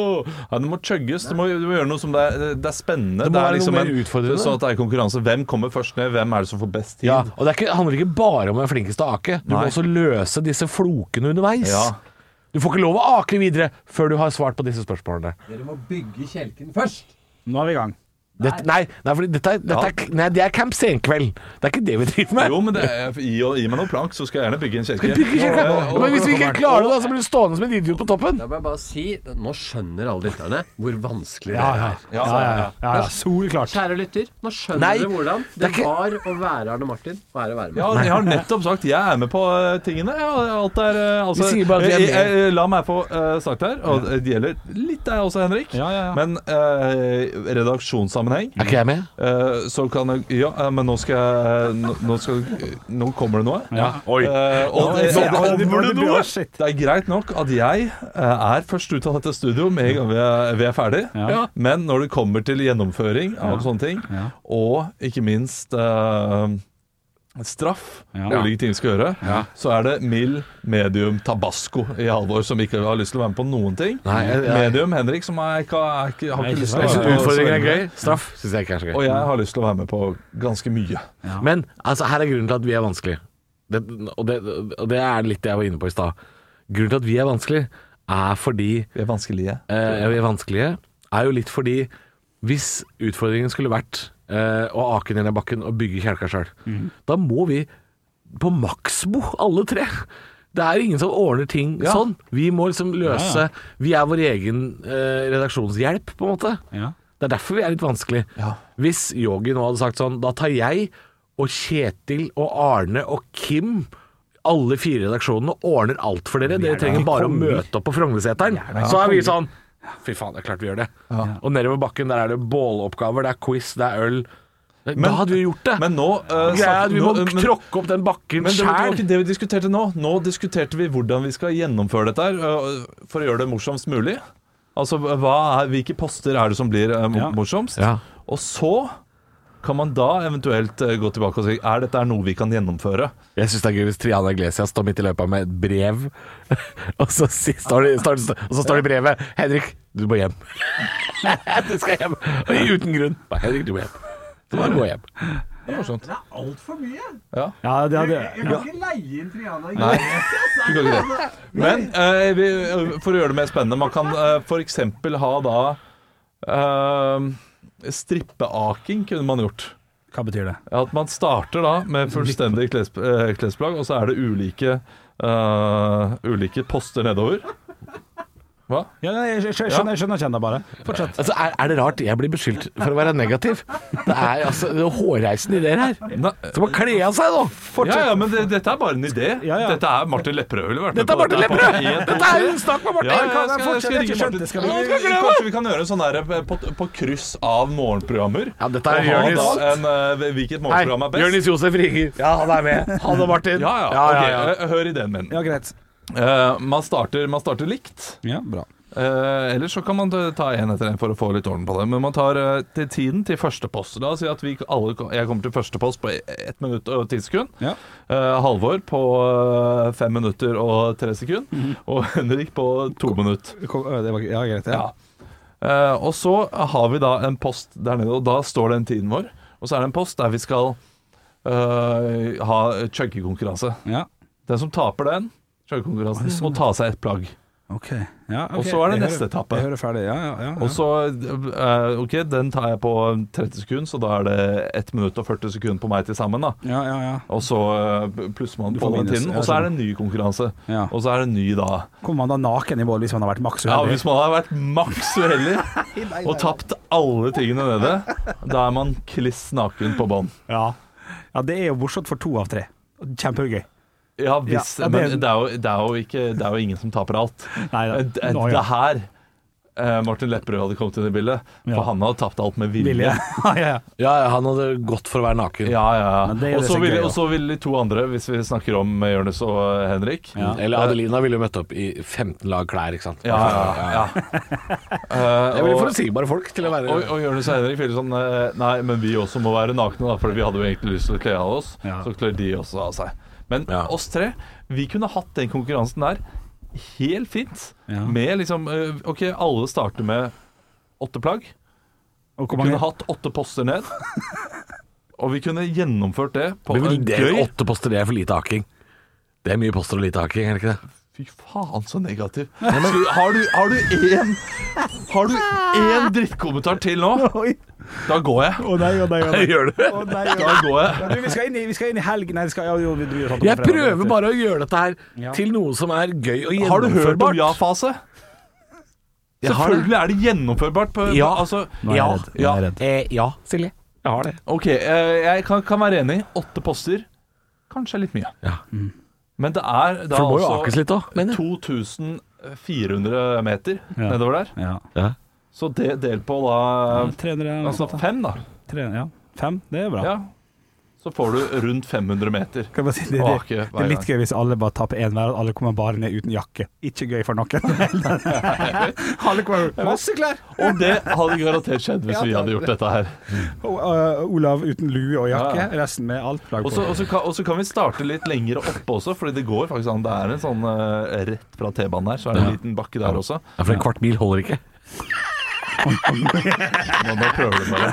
[SPEAKER 5] Ja, det må chugges. Du må, du må gjøre noe som det er, det er spennende.
[SPEAKER 6] Det må
[SPEAKER 5] er
[SPEAKER 6] være noe mer
[SPEAKER 5] en-
[SPEAKER 6] utfordrende.
[SPEAKER 5] Sånn at det er konkurranse. Hvem kommer først ned? Hvem er det som får best tid?
[SPEAKER 6] Ja, og det er ikke, handler ikke bare om å være flinkest til å ake. Du må
[SPEAKER 5] Nei.
[SPEAKER 6] også løse disse flokene underveis.
[SPEAKER 5] Ja.
[SPEAKER 6] Du får ikke lov å ake videre før du har svart på disse spørsmålene.
[SPEAKER 7] Dere må bygge kjelken først.
[SPEAKER 4] Nå er vi i gang.
[SPEAKER 6] Dette, nei, nei, fordi dette, er- dette er, nei, det er Camp Senkveld. Det er ikke det vi driver med.
[SPEAKER 5] Jo, men det er, gi, gi meg noen plank, så skal jeg gjerne bygge en kjelke.
[SPEAKER 6] Bygge kjelke. Men hvis vi ikke klarer det, da, så blir du stående som en idiot på toppen.
[SPEAKER 7] Da må jeg bare si Nå skjønner alle lytterne hvor vanskelig
[SPEAKER 4] Ja,
[SPEAKER 7] det
[SPEAKER 4] ja.
[SPEAKER 7] er.
[SPEAKER 4] ja, ja, ja, ja, ja. Soleklart.
[SPEAKER 7] Kjære lytter, nå skjønner
[SPEAKER 6] Nei,
[SPEAKER 7] dere hvordan
[SPEAKER 6] det
[SPEAKER 7] det
[SPEAKER 6] er ikke-
[SPEAKER 7] var å være Arne Martin og være være med.
[SPEAKER 5] Ja, jeg har nettopp sagt jeg er med på eh, tingene. Ja, alt er eh, altså,
[SPEAKER 6] Vi sier bare at vi er
[SPEAKER 5] jeg- jeg-
[SPEAKER 6] med.
[SPEAKER 5] jeg- La meg få eh, sagt her, og det gjelder litt deg også, Henrik.
[SPEAKER 4] Ja, ja, ja.
[SPEAKER 5] Men eh, redaksjonssammenheng
[SPEAKER 6] Er ikke jeg med?
[SPEAKER 5] eh, så kan jeg Ja, eh, men nå skal jeg nå, nå, skal, nå kommer det noe.
[SPEAKER 6] Oi.
[SPEAKER 5] Eh, og, det-
[SPEAKER 4] Ja, det
[SPEAKER 5] og, det-
[SPEAKER 4] burde
[SPEAKER 5] det- det-
[SPEAKER 4] bli- shit.
[SPEAKER 5] Det er greit nok at jeg eh, er først ut av dette studio med en gang vi er, vi er ferdig.
[SPEAKER 4] Ja.
[SPEAKER 5] Men når det kommer til gjennomføring av sånne ting,
[SPEAKER 4] Ja.
[SPEAKER 5] og ikke minst eh, straff,
[SPEAKER 4] Ja.
[SPEAKER 5] ulike ting vi skal gjøre, så er det mild, medium, tabasco i Halvor som ikke har lyst til å være med på noen ting.
[SPEAKER 6] Nei, jeg- jeg-
[SPEAKER 5] Medium Henrik som er, ikke, er, ikke, har
[SPEAKER 4] Nei,
[SPEAKER 5] ikke lyst til
[SPEAKER 4] ikke
[SPEAKER 5] å
[SPEAKER 6] Jeg
[SPEAKER 5] være
[SPEAKER 6] synes
[SPEAKER 5] med. på
[SPEAKER 6] utfordringen er
[SPEAKER 5] så
[SPEAKER 6] gøy.
[SPEAKER 5] lenge.
[SPEAKER 6] Straff syns jeg ikke er så
[SPEAKER 5] Og
[SPEAKER 6] gøy.
[SPEAKER 5] jeg har lyst til å være med på ganske mye.
[SPEAKER 6] Men altså, her er grunnen til at vi er vanskelig. Det, og, det, og det er litt det jeg var inne på i stad. Grunnen til at vi er vanskelig, er fordi
[SPEAKER 5] Vi er vanskelige.
[SPEAKER 6] eh, er vanskelige, er jo litt fordi hvis utfordringen skulle vært eh, å ake ned i bakken og bygge kjelka sjøl, da må vi på maksbo, alle tre. Det er ingen som ordner ting
[SPEAKER 5] Ja.
[SPEAKER 6] sånn. Vi må liksom løse Vi er vår egen eh, redaksjonshjelp, på en måte.
[SPEAKER 4] Ja.
[SPEAKER 6] Det er derfor vi er litt vanskelig.
[SPEAKER 5] Ja.
[SPEAKER 6] Hvis Yogi nå hadde sagt sånn, da tar jeg og Kjetil og Arne og Kim alle fire redaksjonene og ordner alt for dere. Dere trenger bare å møte opp på Frognerseteren. Så er vi sånn Fy faen, det er klart vi gjør det. Og nedover bakken der er det båloppgaver, det er quiz, det er øl. da hadde vi gjort det.
[SPEAKER 5] Men nå eh,
[SPEAKER 6] Greia er
[SPEAKER 5] snak-
[SPEAKER 6] at vi må
[SPEAKER 5] nå- eh, men-
[SPEAKER 6] tråkke opp den bakken
[SPEAKER 5] Men det var, det var
[SPEAKER 6] sjæl.
[SPEAKER 5] ikke det vi diskuterte nå. Nå diskuterte vi hvordan vi skal gjennomføre dette her øh, for å gjøre det morsomst mulig. Altså, hva er, hvilke poster er det som blir eh, mo-
[SPEAKER 4] Ja.
[SPEAKER 5] morsomst?
[SPEAKER 6] Ja.
[SPEAKER 5] Og så kan man da eventuelt eh, gå tilbake og si Er dette er noe vi kan gjennomføre.
[SPEAKER 6] Jeg syns det er gøy hvis Triana Iglesias står midt i løypa med et brev, og så si- står det, står det, og så står det i brevet 'Henrik, du må hjem'. du skal hjem. Og uten grunn. Nei, Henrik, du må hjem. Du må gå hjem.
[SPEAKER 8] Det er altfor mye.
[SPEAKER 4] Ja, det hadde
[SPEAKER 8] Jeg kan ikke leie inn Triana.
[SPEAKER 5] Nei.
[SPEAKER 8] Iglesias.
[SPEAKER 5] Du kan ikke det. Men eh, vi, for å gjøre det mer spennende, man kan eh, for f.eks. ha da eh, Strippeaking kunne man gjort.
[SPEAKER 4] Hva betyr det?
[SPEAKER 5] Ja, At man starter da med fullstendig kles, eh, klesplagg, og så er det ulike, eh, ulike poster nedover. Hva?
[SPEAKER 4] Ja, nei, jeg, skj- skj- skjønner, jeg skjønner, jeg kjenner bare. Fortsett.
[SPEAKER 6] Altså, er, er det rart jeg blir beskyldt for å være negativ? Det er altså det er hårreisende ideer her.
[SPEAKER 5] Nei.
[SPEAKER 6] Skal man kle av seg, da?
[SPEAKER 5] Ja, ja, men det, dette er bare en idé.
[SPEAKER 4] Ja, ja.
[SPEAKER 5] Dette er Martin Lepperød. ville vært med
[SPEAKER 6] Dette er
[SPEAKER 5] på.
[SPEAKER 6] Martin
[SPEAKER 5] bare
[SPEAKER 6] Lepperød!
[SPEAKER 5] helt
[SPEAKER 6] Dette er
[SPEAKER 5] ok.
[SPEAKER 6] jo snakk med Martin!
[SPEAKER 5] Ja, ja, jeg skal,
[SPEAKER 4] fortsette?
[SPEAKER 5] jeg skal
[SPEAKER 4] Jeg
[SPEAKER 5] ringe
[SPEAKER 4] skjønte
[SPEAKER 5] Martin.
[SPEAKER 4] det, skal vi-
[SPEAKER 5] Nå skal vi- Kanskje vi kan gjøre en sånn her på, på kryss av morgenprogrammer?
[SPEAKER 6] Ja, dette er
[SPEAKER 5] Og ha
[SPEAKER 6] Jonis.
[SPEAKER 5] da en, eh, hvilket
[SPEAKER 6] Hei,
[SPEAKER 5] morgenprogram er best?
[SPEAKER 6] Jonis Josef ringer. Ja, han er med. Han og Martin.
[SPEAKER 5] Ja, ja.
[SPEAKER 6] ja, ja,
[SPEAKER 5] ok, eh, Hør ideen min.
[SPEAKER 4] Ja, greit.
[SPEAKER 5] Eh, man, starter, man starter likt.
[SPEAKER 4] Ja, bra.
[SPEAKER 5] Eh, ellers så kan man ta- ta en etter en for å få litt orden på det. Men man tar eh, til tiden til første post. La oss si at vi alle, kom- jeg kommer til første post på 1 minutt og 10 sekunder.
[SPEAKER 4] Ja.
[SPEAKER 5] Eh, Halvor på 5 minutter og 3 sekunder. Og Henrik på 2 minutter.
[SPEAKER 4] Kom- ø, Det var, ja, greit. Ja.
[SPEAKER 5] Ja. Eh, og så har vi da en post der nede, og da står den tiden vår. Og så er det en post der vi skal eh, ha chuggekonkurranse.
[SPEAKER 4] Ja.
[SPEAKER 5] Den som taper den chuggekonkurransen, må ta seg et plagg.
[SPEAKER 4] OK. Ja, ok.
[SPEAKER 5] Og så er det
[SPEAKER 4] Jeg
[SPEAKER 5] neste
[SPEAKER 4] hører-
[SPEAKER 5] etappe.
[SPEAKER 4] Jeg hører ferdig. Ja, ja, ja. ja.
[SPEAKER 5] Og så eh, OK, den tar jeg på 30 sekunder, så da er det 1 minutt og 40 sekunder på meg til sammen, da.
[SPEAKER 4] ja, ja, ja.
[SPEAKER 5] Og så eh, plusser man
[SPEAKER 4] Du
[SPEAKER 5] på
[SPEAKER 4] får
[SPEAKER 5] den
[SPEAKER 4] minus.
[SPEAKER 5] tiden.
[SPEAKER 4] Ja,
[SPEAKER 5] Og så er det en ny konkurranse.
[SPEAKER 4] Ja.
[SPEAKER 5] Og så er det en ny da.
[SPEAKER 4] Kommer man da naken i mål hvis man har vært maks
[SPEAKER 5] Ja,
[SPEAKER 4] uheldig?
[SPEAKER 5] hvis man har vært maks uheldig og tapt alle tingene nede, da er man kliss naken på bånn.
[SPEAKER 4] Ja. ja, det er jo morsomt for to av tre. Kjempegøy.
[SPEAKER 5] Ja, hvis,
[SPEAKER 4] Ja, ja, det-
[SPEAKER 5] men det er, jo, det, er jo ikke, det er jo ingen som taper alt.
[SPEAKER 4] Nei, da.
[SPEAKER 5] det, det,
[SPEAKER 4] Nå, ja.
[SPEAKER 5] det her eh, Martin Lepperød hadde kommet inn i bildet, for
[SPEAKER 4] Ja.
[SPEAKER 5] han hadde tapt alt med vilje.
[SPEAKER 4] Vil jeg? ja, ja, ja.
[SPEAKER 6] Ja, ja, han hadde gått for å være naken.
[SPEAKER 5] Ja, ja.
[SPEAKER 4] Men det er jo
[SPEAKER 5] Og
[SPEAKER 4] det
[SPEAKER 5] så
[SPEAKER 4] som er
[SPEAKER 5] vil,
[SPEAKER 4] gøy,
[SPEAKER 5] og så vil de to andre, hvis vi snakker om Jonis og eh, Henrik
[SPEAKER 6] Mm. Eller Adelina ville jo møtt opp i 15 lag klær, ikke sant.
[SPEAKER 5] Ja, ja, ja. Eh,
[SPEAKER 6] Det blir
[SPEAKER 5] og-
[SPEAKER 6] forutsigbare folk til å være
[SPEAKER 5] Og, og Jonis og Henrik føler sånn eh, Nei, men vi også må være nakne, da, for vi hadde jo egentlig lyst til å kle av oss.
[SPEAKER 4] Ja.
[SPEAKER 5] Så kler de også av seg. Men
[SPEAKER 6] Ja.
[SPEAKER 5] oss tre, vi kunne hatt den konkurransen der helt fint.
[SPEAKER 4] Ja.
[SPEAKER 5] Med liksom eh, OK, alle starter med åtte plagg.
[SPEAKER 4] Og
[SPEAKER 5] Vi
[SPEAKER 4] hvor mange
[SPEAKER 5] kunne hatt åtte poster ned. Og vi kunne gjennomført det på
[SPEAKER 6] Men
[SPEAKER 5] en
[SPEAKER 6] det er
[SPEAKER 5] gøy
[SPEAKER 6] åtte poster, det er for lite haking. Det er mye poster og lite haking, er det ikke det?
[SPEAKER 5] Fy faen, så negativ. Skal- Har du- har du én Har du én drittkommentar til nå,
[SPEAKER 4] Oi!
[SPEAKER 5] da går jeg.
[SPEAKER 4] Å nei, å nei, å nei.
[SPEAKER 6] Gjør du?
[SPEAKER 4] Å nei, å nei.
[SPEAKER 5] Da går jeg.
[SPEAKER 4] Ja, du, vi, skal inn i, vi skal inn i helg Nei, vi skal, ja, jo, vi sånn. driver og tar det på
[SPEAKER 6] Jeg
[SPEAKER 4] fredag,
[SPEAKER 6] prøver
[SPEAKER 4] vet du.
[SPEAKER 6] bare å gjøre dette her
[SPEAKER 4] Ja.
[SPEAKER 6] til noe som er gøy og
[SPEAKER 5] Har du hørt om
[SPEAKER 6] gjennomførbart.
[SPEAKER 5] ja-fase? Selvfølgelig er det gjennomførbart. På,
[SPEAKER 6] Ja.
[SPEAKER 5] altså,
[SPEAKER 4] Nå er jeg
[SPEAKER 6] Ja.
[SPEAKER 4] redd. Nå er jeg redd.
[SPEAKER 6] Eh, ja, Silje. Jeg har det.
[SPEAKER 5] ok, eh, jeg kan, kan være enig. Åtte poster, kanskje litt mye.
[SPEAKER 6] Ja.
[SPEAKER 5] Men det er da
[SPEAKER 6] For det må jo akes
[SPEAKER 5] altså
[SPEAKER 6] litt òg, mener jeg.
[SPEAKER 5] 2400 meter
[SPEAKER 4] Ja.
[SPEAKER 5] nedover der.
[SPEAKER 4] Ja.
[SPEAKER 5] Så det del på da altså
[SPEAKER 4] 300
[SPEAKER 5] fem, da.
[SPEAKER 4] 300, Ja. Fem, det er bra.
[SPEAKER 5] Ja. Så får du rundt 500 meter.
[SPEAKER 4] Kan jeg bare si, det,
[SPEAKER 5] Å,
[SPEAKER 4] det,
[SPEAKER 5] ikke
[SPEAKER 4] det
[SPEAKER 5] hver
[SPEAKER 4] er litt gøy hvis alle bare tapper én hver, og alle kommer bare ned uten jakke. Ikke gøy for noen. alle kommer masse klær!
[SPEAKER 5] Og det hadde garantert skjedd hvis vi hadde gjort dette her.
[SPEAKER 4] Og, øh, Olav uten lue og jakke,
[SPEAKER 5] Ja,
[SPEAKER 4] resten med alt plagg
[SPEAKER 5] Og
[SPEAKER 4] på.
[SPEAKER 5] så og så kan, og så kan vi starte litt lengre oppe også, Fordi det går faktisk an. Det er en sånn eh, rett fra T-banen her, så er det en liten bakke der også.
[SPEAKER 6] Ja, for en kvart mil holder ikke.
[SPEAKER 5] Nå, nå prøver du bare.